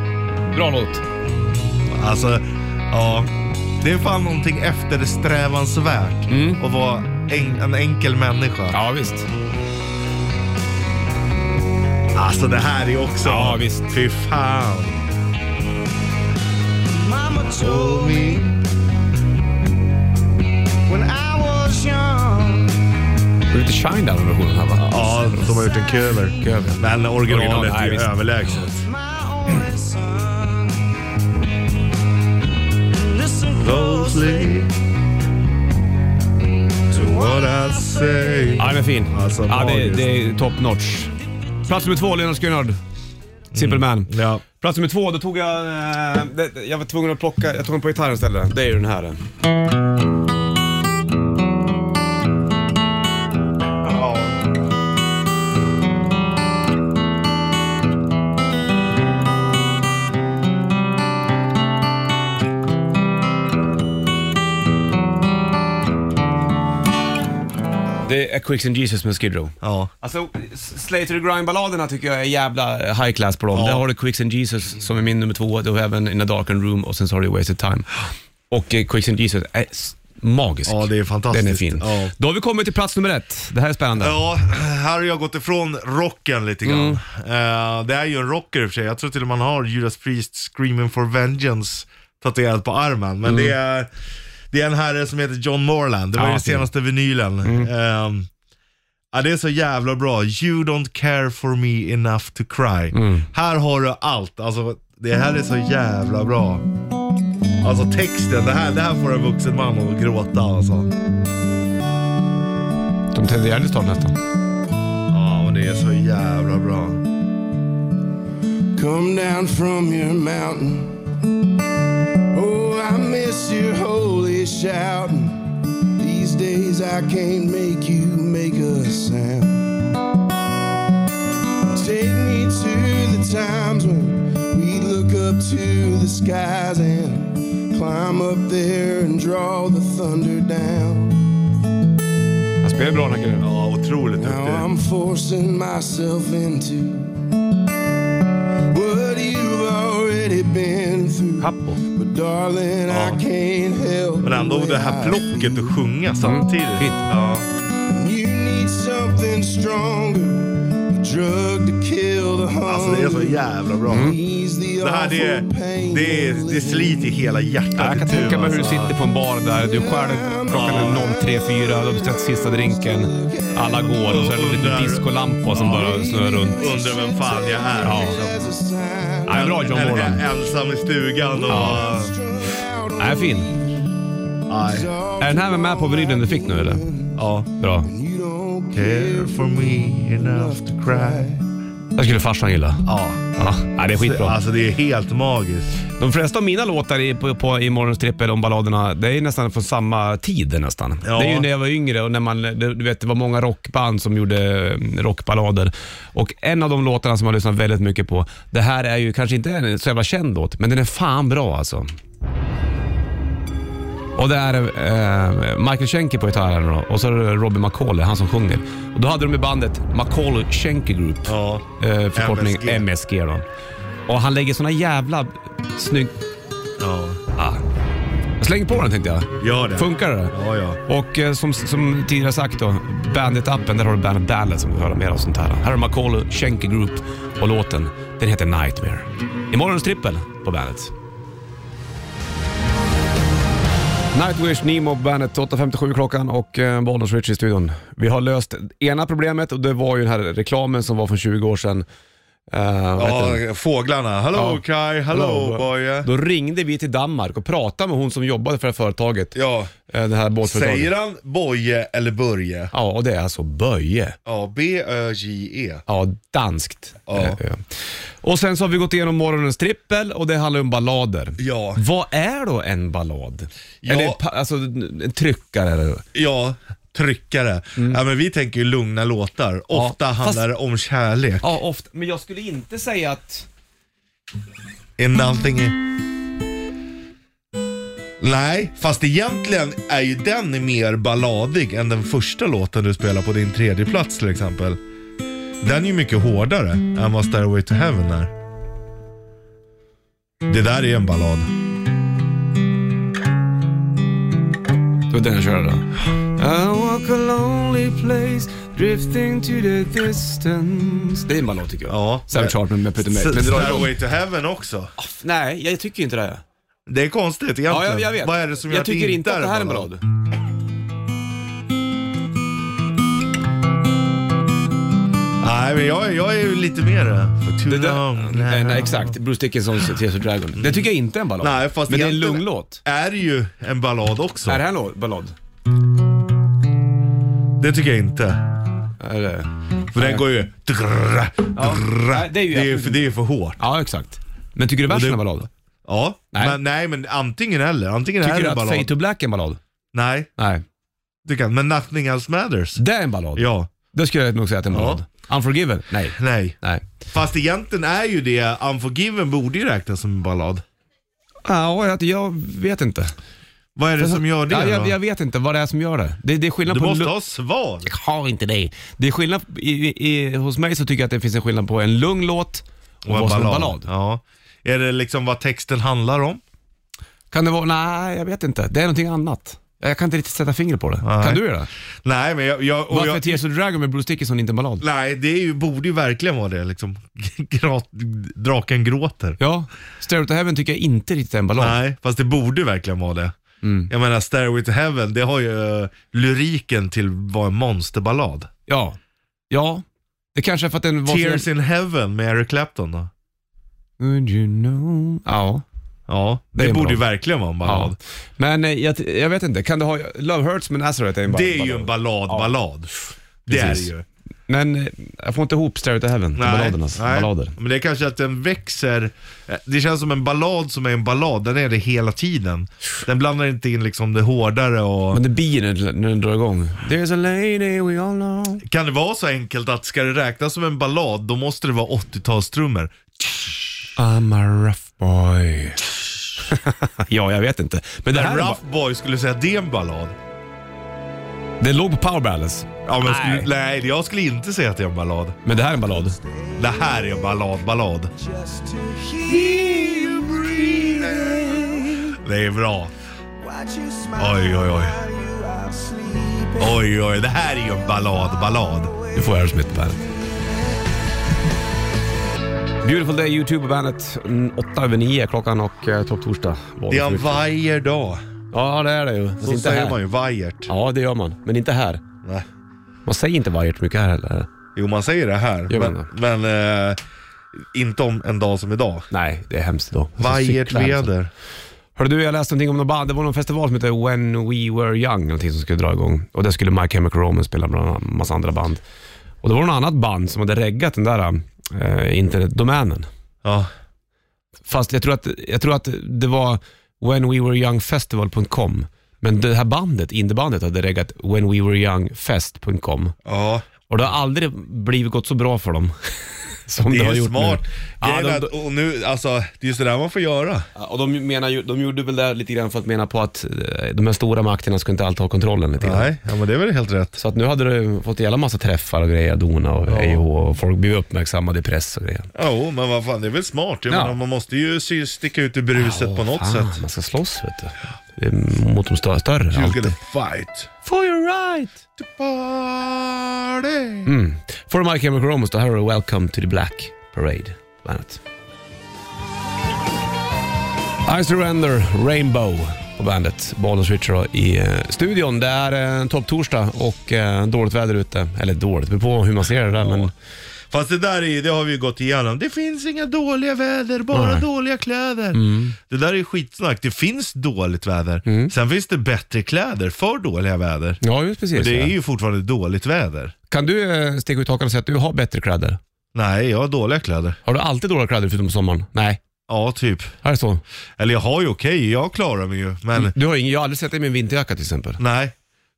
Speaker 2: Bra låt.
Speaker 3: Alltså, ja. Det är fan någonting eftersträvansvärt att vara en, en enkel människa.
Speaker 2: Mm. Ja, visst.
Speaker 3: Alltså det här är också...
Speaker 2: Ja, visst.
Speaker 3: Fy fan.
Speaker 8: Mama
Speaker 3: Oh,
Speaker 8: told me when I was young.
Speaker 2: Det är lite Shine Down-versionen här va?
Speaker 3: Ja, de har gjort en cover.
Speaker 2: Cover.
Speaker 3: Men
Speaker 2: Original,
Speaker 3: originalet
Speaker 2: nej,
Speaker 3: är ju
Speaker 2: visst.
Speaker 3: överlägset.
Speaker 8: my only son. Listen closely.
Speaker 3: To what I say.
Speaker 2: Ja, den är fin.
Speaker 3: Alltså,
Speaker 2: ja, det,
Speaker 3: magiskt.
Speaker 2: det är top notch. Plats nummer två, Lennart Skynard. Simple
Speaker 3: Mm.
Speaker 2: Man.
Speaker 3: Ja.
Speaker 2: Plats nummer två, då tog jag... eh, det- jag var tvungen att plocka... Jag tog den på gitarren istället. Det är ju den här. Det är Quicks and Jesus med Skid Row.
Speaker 3: Ja.
Speaker 2: Alltså, Slater och Grind-balladerna tycker jag är jävla eh, high class på dem.
Speaker 3: Ja.
Speaker 2: Där har du Quicks and Jesus som är min nummer två, du har även In a Darkened Room och sen så har du Wasted Time. Och eh, Quicks and Jesus är s- magisk.
Speaker 3: Ja, det är fantastiskt.
Speaker 2: Den är fin.
Speaker 3: Ja.
Speaker 2: Då har vi kommit till plats nummer ett. Det här är spännande.
Speaker 3: Ja, här har jag gått ifrån rocken lite grann. Eh, det är ju en rocker i och för sig. Jag tror till och med man har Judas Priest Screaming for Vengeance tatuerat på armen. Men det, är, det är en herre som heter John Morland. Det var
Speaker 2: Ja,
Speaker 3: ju den
Speaker 2: fin.
Speaker 3: senaste vinylen. Ehm, ja, det är så jävla bra. You don't care for me enough to cry. Här har du allt. Alltså, det här är så jävla bra. Alltså texten, det här, det här får en vuxen man att gråta alltså.
Speaker 2: De tände ihjäl snart nästan.
Speaker 3: Ja, och det är så jävla bra.
Speaker 8: Come down from your mountain. Oh, I miss your holy shouting. These days I can't make you make a sound. Take me to the times when we look up to the skies and climb up there and draw the thunder down.
Speaker 2: Han spelar bra den här killen.
Speaker 3: Ja, otroligt
Speaker 8: Now I'm
Speaker 3: duktig.
Speaker 8: forcing myself into what you've already been through.
Speaker 2: Cappo.
Speaker 8: But darling, I can't help
Speaker 3: Men ändå
Speaker 8: the
Speaker 3: det
Speaker 8: way
Speaker 3: här
Speaker 8: Oh. I
Speaker 3: plocket
Speaker 8: feel.
Speaker 3: att sjunga samtidigt.
Speaker 2: Fint.
Speaker 3: Ja.
Speaker 8: You need something stronger, a drug to kill the hunger.
Speaker 3: Alltså det är så jävla bra.
Speaker 2: Mm.
Speaker 8: Ease the
Speaker 3: Det här det, är-
Speaker 8: awful pain
Speaker 3: det,
Speaker 8: of
Speaker 3: är- det sliter i hela hjärtat.
Speaker 2: Ja, jag kan
Speaker 3: i tur,
Speaker 2: tänka mig hur du
Speaker 3: alltså.
Speaker 2: sitter på en bar där, du själv, klockan är 03.04, du har beställt sista drinken, alla går och så är det lite
Speaker 3: Undrar-
Speaker 2: discolampa som bara snurrar runt.
Speaker 3: Undrar vem fan jag är.
Speaker 2: Ja.
Speaker 3: liksom.
Speaker 8: as a sign.
Speaker 2: Ja, bra John
Speaker 3: En-
Speaker 2: Morland.
Speaker 3: en- Ensam i stugan och... Ja.
Speaker 2: Ja, fin.
Speaker 3: Nej.
Speaker 2: Är den här med på vinylen du fick nu eller?
Speaker 3: Ja.
Speaker 2: Bra.
Speaker 8: You don't
Speaker 3: Care for me enough to cry.
Speaker 2: Det skulle farsan gilla.
Speaker 3: Ja.
Speaker 2: Ja, ja, det är skitbra.
Speaker 3: Alltså det är helt magiskt.
Speaker 2: De flesta av mina låtar i, på, på, i morgons trippel om balladerna, det är nästan från samma tid nästan.
Speaker 3: Ja.
Speaker 2: Det är ju när jag var yngre och när man, du du vet, det var många rockband som gjorde eh, rockballader. Och en av de låtarna som jag har lyssnat väldigt mycket på, det här är ju kanske inte en så jävla känd låt, men den är fan bra alltså. Och det är eh, Michael Schenker på gitarren då, och så är det Robbie McCauley, han som sjunger. Och då hade de i bandet McCauley Schenker Group.
Speaker 3: Ja.
Speaker 2: eh, förkortning
Speaker 3: MSG.
Speaker 2: MSG. då. Och han lägger såna jävla snygg...
Speaker 3: ja.
Speaker 2: Ah. Jag slänger på den tänkte jag.
Speaker 3: Gör det.
Speaker 2: Funkar det?
Speaker 3: Ja, ja.
Speaker 2: Och eh, som, som tidigare sagt då, Bandit-appen, där har du Bandit Ballet som du höra mer av sånt här. Här är McCall Schenker Group och låten, den heter Nightmare. Imorgons trippel på Bandet. Nightwish, Nemo, Bandet, 8.57 klockan och eh, Bollnäs Rich i studion. Vi har löst ena problemet och det var ju den här reklamen som var för 20 år sedan. Eh, vad heter den?
Speaker 3: Ja, fåglarna. Hello
Speaker 2: Ja.
Speaker 3: Kai, hello boy.
Speaker 2: Då ringde vi till Danmark och pratade med hon som jobbade för det här företaget.
Speaker 3: Ja.
Speaker 2: eh, Det här båtföretaget.
Speaker 3: Säger han Boje eller Börje?
Speaker 2: Ja, och det är alltså Böje.
Speaker 3: Ja, B-Ö-J-E.
Speaker 2: Ja, danskt.
Speaker 3: Ja.
Speaker 2: Eh, eh. Och sen så har vi gått igenom morgonens trippel och det handlar om ballader.
Speaker 3: Ja.
Speaker 2: Vad är då en ballad?
Speaker 3: Ja.
Speaker 2: Eller pa- alltså en tryckare? eller?
Speaker 3: Ja, tryckare. Ja, men vi tänker ju lugna låtar. Ofta
Speaker 2: Mm. fast-
Speaker 3: handlar det om kärlek.
Speaker 2: Ja, ofta. Men jag skulle inte säga att...
Speaker 3: In nothing i- Nej, fast egentligen är ju den mer balladig än den första låten du spelar på din tredje plats till exempel. Den är ju mycket hårdare än vad Stairway to Heaven är. Det där är en ballad.
Speaker 9: Det var den jag körde.
Speaker 2: I walk a lonely place drifting to the distance. Det är en ballad tycker jag.
Speaker 3: Ja.
Speaker 2: Savage Heart med, med Peter May.
Speaker 3: S-
Speaker 2: Men dra igång.
Speaker 3: Stairway to Heaven också.
Speaker 2: Nej, jag tycker inte det.
Speaker 3: Det är konstigt egentligen.
Speaker 2: Ja, jag, jag vet.
Speaker 3: Vad är det som gör
Speaker 2: jag
Speaker 3: att det
Speaker 2: tycker
Speaker 3: inte
Speaker 2: inte att det här är en
Speaker 3: ballad?
Speaker 2: ballad.
Speaker 3: Nej, men jag, jag är ju lite mer för too
Speaker 2: Det där,
Speaker 3: long.
Speaker 2: nej, nej, exakt. Bruce Dickinsons Tears of Dragon. Det tycker jag inte är en ballad.
Speaker 3: Nej, fast
Speaker 2: men det är en
Speaker 3: egentligen-
Speaker 2: lugn låt.
Speaker 3: Är ju en ballad också.
Speaker 2: Är det här en ballad?
Speaker 3: Det tycker jag inte.
Speaker 2: Är det?
Speaker 3: För den går ju... drrrra, drrrra.
Speaker 2: Nej, det är ju-
Speaker 3: för, det är ju för hårt.
Speaker 2: Ja, exakt. Men tycker du versen är en ballad?
Speaker 3: Ja,
Speaker 2: Nej.
Speaker 3: Men, nej men antingen eller. Antingen
Speaker 2: Tycker
Speaker 3: är
Speaker 2: du
Speaker 3: det en
Speaker 2: att
Speaker 3: ballad.
Speaker 2: Fade to Black är en ballad?
Speaker 3: Nej,
Speaker 2: Nej.
Speaker 3: du kan. Men Nothing Else Matters.
Speaker 2: Det är en ballad.
Speaker 3: Ja,
Speaker 2: Det skulle jag nog säga att det är en
Speaker 3: Ja.
Speaker 2: ballad. Unforgiven? Nej.
Speaker 3: nej.
Speaker 2: Nej.
Speaker 3: Fast egentligen är ju det, Unforgiven borde ju räknas som en ballad.
Speaker 2: Ja, jag, jag vet inte.
Speaker 3: Vad är det som gör det
Speaker 2: ja, jag,
Speaker 3: då?
Speaker 2: jag vet inte vad det är som gör det. Det, det är skillnad
Speaker 3: Du
Speaker 2: på...
Speaker 3: måste
Speaker 2: lu-
Speaker 3: ha svar.
Speaker 2: Jag har inte det. Det är skillnad, i, i, i, hos mig så tycker jag att det finns en skillnad på en lugn låt och, vad som är en ballad.
Speaker 3: Ja. Är det liksom vad texten handlar om?
Speaker 2: Kan det vara, nej jag vet inte. Det är någonting annat. Jag kan inte riktigt sätta fingret på det.
Speaker 3: Nej.
Speaker 2: Kan du göra det?
Speaker 3: Nej, men jag... jag, och
Speaker 2: Varför är
Speaker 3: jag
Speaker 2: Tears of the Dragon med Bruce Dickinson inte en ballad?
Speaker 3: nej, det är ju, borde ju verkligen vara det liksom. Grat, draken gråter.
Speaker 2: Ja, Stairway to Heaven tycker jag inte riktigt är en ballad.
Speaker 3: Nej, fast det borde verkligen vara det.
Speaker 2: Mm.
Speaker 3: Jag menar, Stairway to Heaven, det har ju eh, lyriken till vad en monsterballad.
Speaker 2: Ja. Ja. Det kanske är för att den var
Speaker 3: Tears
Speaker 2: så...
Speaker 3: in Heaven med Eric Clapton då?
Speaker 2: Would you know? Ja.
Speaker 3: Ja, det,
Speaker 2: är en
Speaker 3: borde ju
Speaker 2: ballad.
Speaker 3: verkligen vara en
Speaker 2: ja.
Speaker 3: ballad.
Speaker 2: Men eh, jag, jag vet inte, kan du ha... Love Hurts med Nazareth är en ballad.
Speaker 3: Det är ju en ballad-ballad. Det är det
Speaker 2: Precis.
Speaker 3: ju.
Speaker 2: Men eh, jag får inte ihop Stairway to Heaven,
Speaker 3: Nej,
Speaker 2: balladerna.
Speaker 3: nej.
Speaker 2: Ballader.
Speaker 3: Men det är kanske att den växer. eh, Det känns som en ballad som är en ballad, den är det hela tiden. Den blandar inte in liksom det hårdare och...
Speaker 2: Men det blir när, när den drar igång. There's a lady we all know.
Speaker 3: Kan det vara så enkelt att ska det räknas som en ballad, då måste det vara 80-talstrummor.
Speaker 2: I'm a rough boy. ja, jag vet inte. Men det här
Speaker 3: Där
Speaker 2: är bara-
Speaker 3: Rough Boy skulle säga att det är en ballad.
Speaker 2: Det låg på Power Balance,
Speaker 3: Ja, men nej. Skulle, nej, jag skulle inte säga att det är en ballad.
Speaker 2: men det här är en ballad.
Speaker 3: Det här är en ballad, ballad. Det är bra. Oj, oj, oj. Oj, oj, det här är ju en ballad, ballad.
Speaker 2: Du får Aerosmith på bandet. Beautiful Day, YouTube och bandet. Mm, Åtta över nio är klockan och eh, topp torsdag. Bollen
Speaker 3: Det är en
Speaker 2: flyttar.
Speaker 3: vajer dag.
Speaker 2: Ja, det är det ju. Fast
Speaker 3: Så
Speaker 2: inte
Speaker 3: säger
Speaker 2: här.
Speaker 3: man ju, vajert.
Speaker 2: Ja, det gör man. Men inte här.
Speaker 3: Nej.
Speaker 2: Man säger inte vajert mycket här heller.
Speaker 3: Jo, man säger det här.
Speaker 2: Gör man
Speaker 3: Men, men eh, inte om en dag som idag.
Speaker 2: Nej, det är hemskt idag. Alltså,
Speaker 3: Vajert
Speaker 2: cyklar här, alltså.
Speaker 3: väder.
Speaker 2: Hörru du, jag läste någonting om någon band. Det var någon festival som hette When We Were Young, någonting som skulle dra igång. Och där skulle My Chemical Romance spela bland annat massa andra band. Och det var något annat band som hade reggat den där eh, internetdomänen.
Speaker 3: Ja.
Speaker 2: Fast jag tror, att, jag tror att det var whenwewereyoungfestival.com. Men det här bandet, indiebandet, hade reggat whenwewereyoungfest.com.
Speaker 3: ja.
Speaker 2: Och det har aldrig blivit gått så bra för dem. Som
Speaker 3: Det
Speaker 2: har
Speaker 3: är ju
Speaker 2: gjort
Speaker 3: smart.
Speaker 2: nu. Ja,
Speaker 3: Grejen är
Speaker 2: de,
Speaker 3: att- och nu, alltså, det är ju sådär man får göra.
Speaker 2: Ja, Och de, menar, ju- de gjorde väl det lite grann för att mena på att eh, de här stora makterna ska inte alltid ha kontrollen lite grann.
Speaker 3: Nej, ja, men det är väl helt rätt.
Speaker 2: Så att nu hade du fått en jävla massa träffar och grejer, Dona och EIH och folk blev uppmärksammade i press och grejer.
Speaker 3: Jo, men vad fan, det är väl smart. Jag
Speaker 2: Ja.
Speaker 3: menar, man måste ju sy- sticka ut i bruset Typ på något
Speaker 2: Fan,
Speaker 3: sätt.
Speaker 2: man ska slåss vet du. Det är Mot de större, större
Speaker 3: You're
Speaker 2: alltid.
Speaker 3: gonna fight.
Speaker 2: For your right!
Speaker 3: To party.
Speaker 2: Mm. For Mike Chemical Romance, det här är Welcome to the Black Parade, bandet. I Surrender, Rainbow på bandet. Bollnäs Richard i eh, studion. Det är eh, en topptorsdag och eh, dåligt väder ute. Eller dåligt, det beror på hur man ser det där. Men
Speaker 3: Fast det där är, ju- det har vi ju gått igenom. Det finns inga dåliga väder, bara
Speaker 2: Nej.
Speaker 3: dåliga kläder. Det där är ju skitsnack. Det finns dåligt väder. Sen finns det bättre kläder för dåliga väder.
Speaker 2: ja, just precis.
Speaker 3: Men det är
Speaker 2: ja.
Speaker 3: ju fortfarande dåligt väder.
Speaker 2: Kan du eh, sticka ut hakan och säga att du har bättre kläder?
Speaker 3: Nej, jag har dåliga kläder.
Speaker 2: Har du alltid dåliga kläder förutom på sommaren? Nej.
Speaker 3: Ja, typ.
Speaker 2: Är det så?
Speaker 3: Eller jag har ju okej, jag klarar mig ju. Men
Speaker 2: Mm. Du har ingen, jag har aldrig sett dig med en vinterjacka till exempel.
Speaker 3: nej,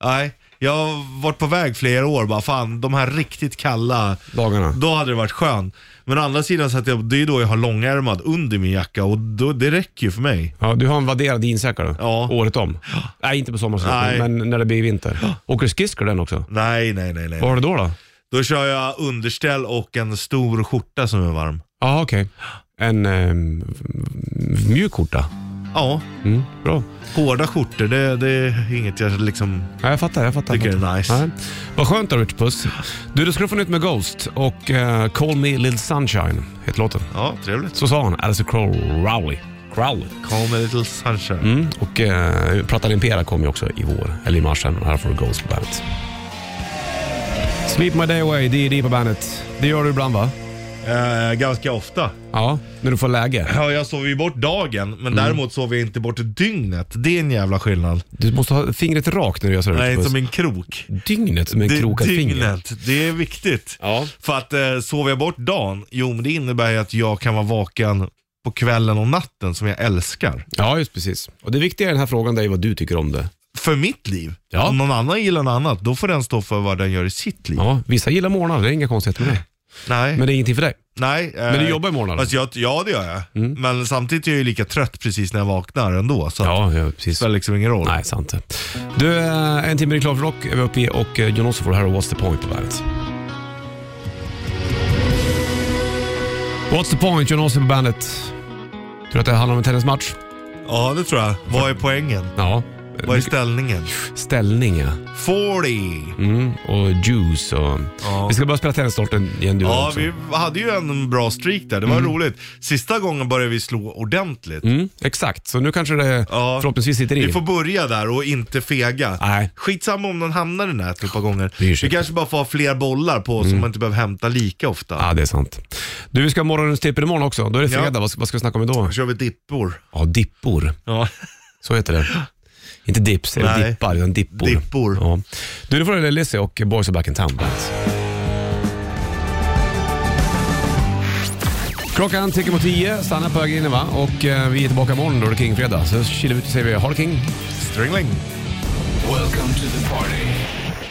Speaker 3: nej. Jag har varit på väg flera år bara, fan de här riktigt kalla
Speaker 2: Dagarna.
Speaker 3: Då hade det varit skönt. Men å andra sidan så att jag, det är ju då jag har långärmad under min jacka och då, det räcker ju för mig.
Speaker 2: Ja, du har en vadderad jeansjacka då?
Speaker 3: Ja.
Speaker 2: Året om? Nej, inte på
Speaker 3: Nej.
Speaker 2: sommaren men när det blir vinter. Åker du skridskor den också?
Speaker 3: Nej, nej, nej, nej.
Speaker 2: Vad har du då? då?
Speaker 3: Då kör jag underställ och en stor skjorta som är varm.
Speaker 2: Ja, okej. En eh, mjuk skjorta.
Speaker 3: Ja,
Speaker 2: Mm, bra.
Speaker 3: hårda skjortor det, det är inget jag liksom...
Speaker 2: Ja, jag fattar, jag fattar. jag
Speaker 3: Tycker det är
Speaker 2: fattar.
Speaker 3: nice.
Speaker 2: Ja. Vad skönt då Rich Puss. Du, du ska få nytt med Ghost och eh, Call Me Little Sunshine heter låten.
Speaker 3: Ja, trevligt.
Speaker 2: Så sa han, Alice Crowley. Crowley.
Speaker 3: Call me little sunshine.
Speaker 2: Mm, och eh, Prata Limpera kom ju också i vår, eller i mars sen. Och Här får du Ghost på bandet. Sleep My Day Away, D.E.D. på bandet. Det gör du ibland va?
Speaker 3: Eh, ganska ofta.
Speaker 2: Ja, när du får läge.
Speaker 3: Ja, jag sover ju bort dagen, men däremot sover jag inte bort dygnet. Det är en jävla skillnad.
Speaker 2: Du måste ha fingret rakt när du gör så.
Speaker 3: Nej,
Speaker 2: Rich Puss.
Speaker 3: som en krok.
Speaker 2: Dygnet som en
Speaker 3: Det-
Speaker 2: krokat finger.
Speaker 3: dygnet, det är viktigt.
Speaker 2: Ja.
Speaker 3: För att eh, sover jag bort dagen, jo men det innebär ju att jag kan vara vaken på kvällen och natten som jag älskar.
Speaker 2: ja, just precis. Och det viktiga i den här frågan det är vad du tycker om det.
Speaker 3: För mitt liv.
Speaker 2: Ja.
Speaker 3: Om någon annan gillar något annat, då får den stå för vad den gör i sitt liv.
Speaker 2: Ja, vissa gillar morgnar, det är inga konstigheter med det.
Speaker 3: Nej,
Speaker 2: Men det är ingenting för dig.
Speaker 3: nej. eh,
Speaker 2: Men du jobbar imorgon alltså?
Speaker 3: Alltså jag, ja det gör jag. Men samtidigt är jag ju lika trött precis när jag vaknar ändå. Så att
Speaker 2: Ja, ja
Speaker 3: det
Speaker 2: precis.
Speaker 3: spelar liksom ingen roll.
Speaker 2: Nej, sant det. Du, eh, en timme reklam för rock är vi uppe i och eh, John Ossofor här och What's the point på bandet. What's the point, John Ossofor på bandet. Tror du att det handlar om en tennismatch?
Speaker 3: Ja det tror jag. Vad är poängen?
Speaker 2: Ja.
Speaker 3: Vad är ställningen?
Speaker 2: Ställning ja.
Speaker 3: 40!
Speaker 2: Mm. Och juice och...
Speaker 3: Ja.
Speaker 2: Vi ska börja spela tennis snart igen du och jag
Speaker 3: Ja,
Speaker 2: också.
Speaker 3: vi hade ju en bra streak där. Det var roligt. Sista gången började vi slå ordentligt.
Speaker 2: Mm, exakt, så nu kanske det
Speaker 3: Ja.
Speaker 2: förhoppningsvis sitter i.
Speaker 3: Vi får börja där och inte fega.
Speaker 2: Nej.
Speaker 3: Skitsamma om den hamnar i nätet ett par gånger.
Speaker 2: bryr sig inte.
Speaker 3: Vi kanske bara får ha fler bollar på så man inte behöver hämta lika ofta.
Speaker 2: Mm. Ja, det är sant. Du, vi ska ha morgonens tippel imorgon också. Då är det
Speaker 3: Ja.
Speaker 2: fredag. Vad, ska- vad ska vi snacka om idag?
Speaker 3: Då kör vi dippor.
Speaker 2: Ja, dippor.
Speaker 3: Ja.
Speaker 2: Så heter det. Inte dips, eller
Speaker 3: Nej.
Speaker 2: dippar, utan dippor.
Speaker 3: Dippor.
Speaker 2: Ja. Du, nu får du Lizzy och Boys Are Back In Town. Bands. Klockan tickar mot tio, stanna på vägen in va? Och eh, vi är tillbaka imorgon då det är King-fredag. Så kilar vi ut och säger vi ha det King.
Speaker 3: Stringling.
Speaker 1: Welcome to the party.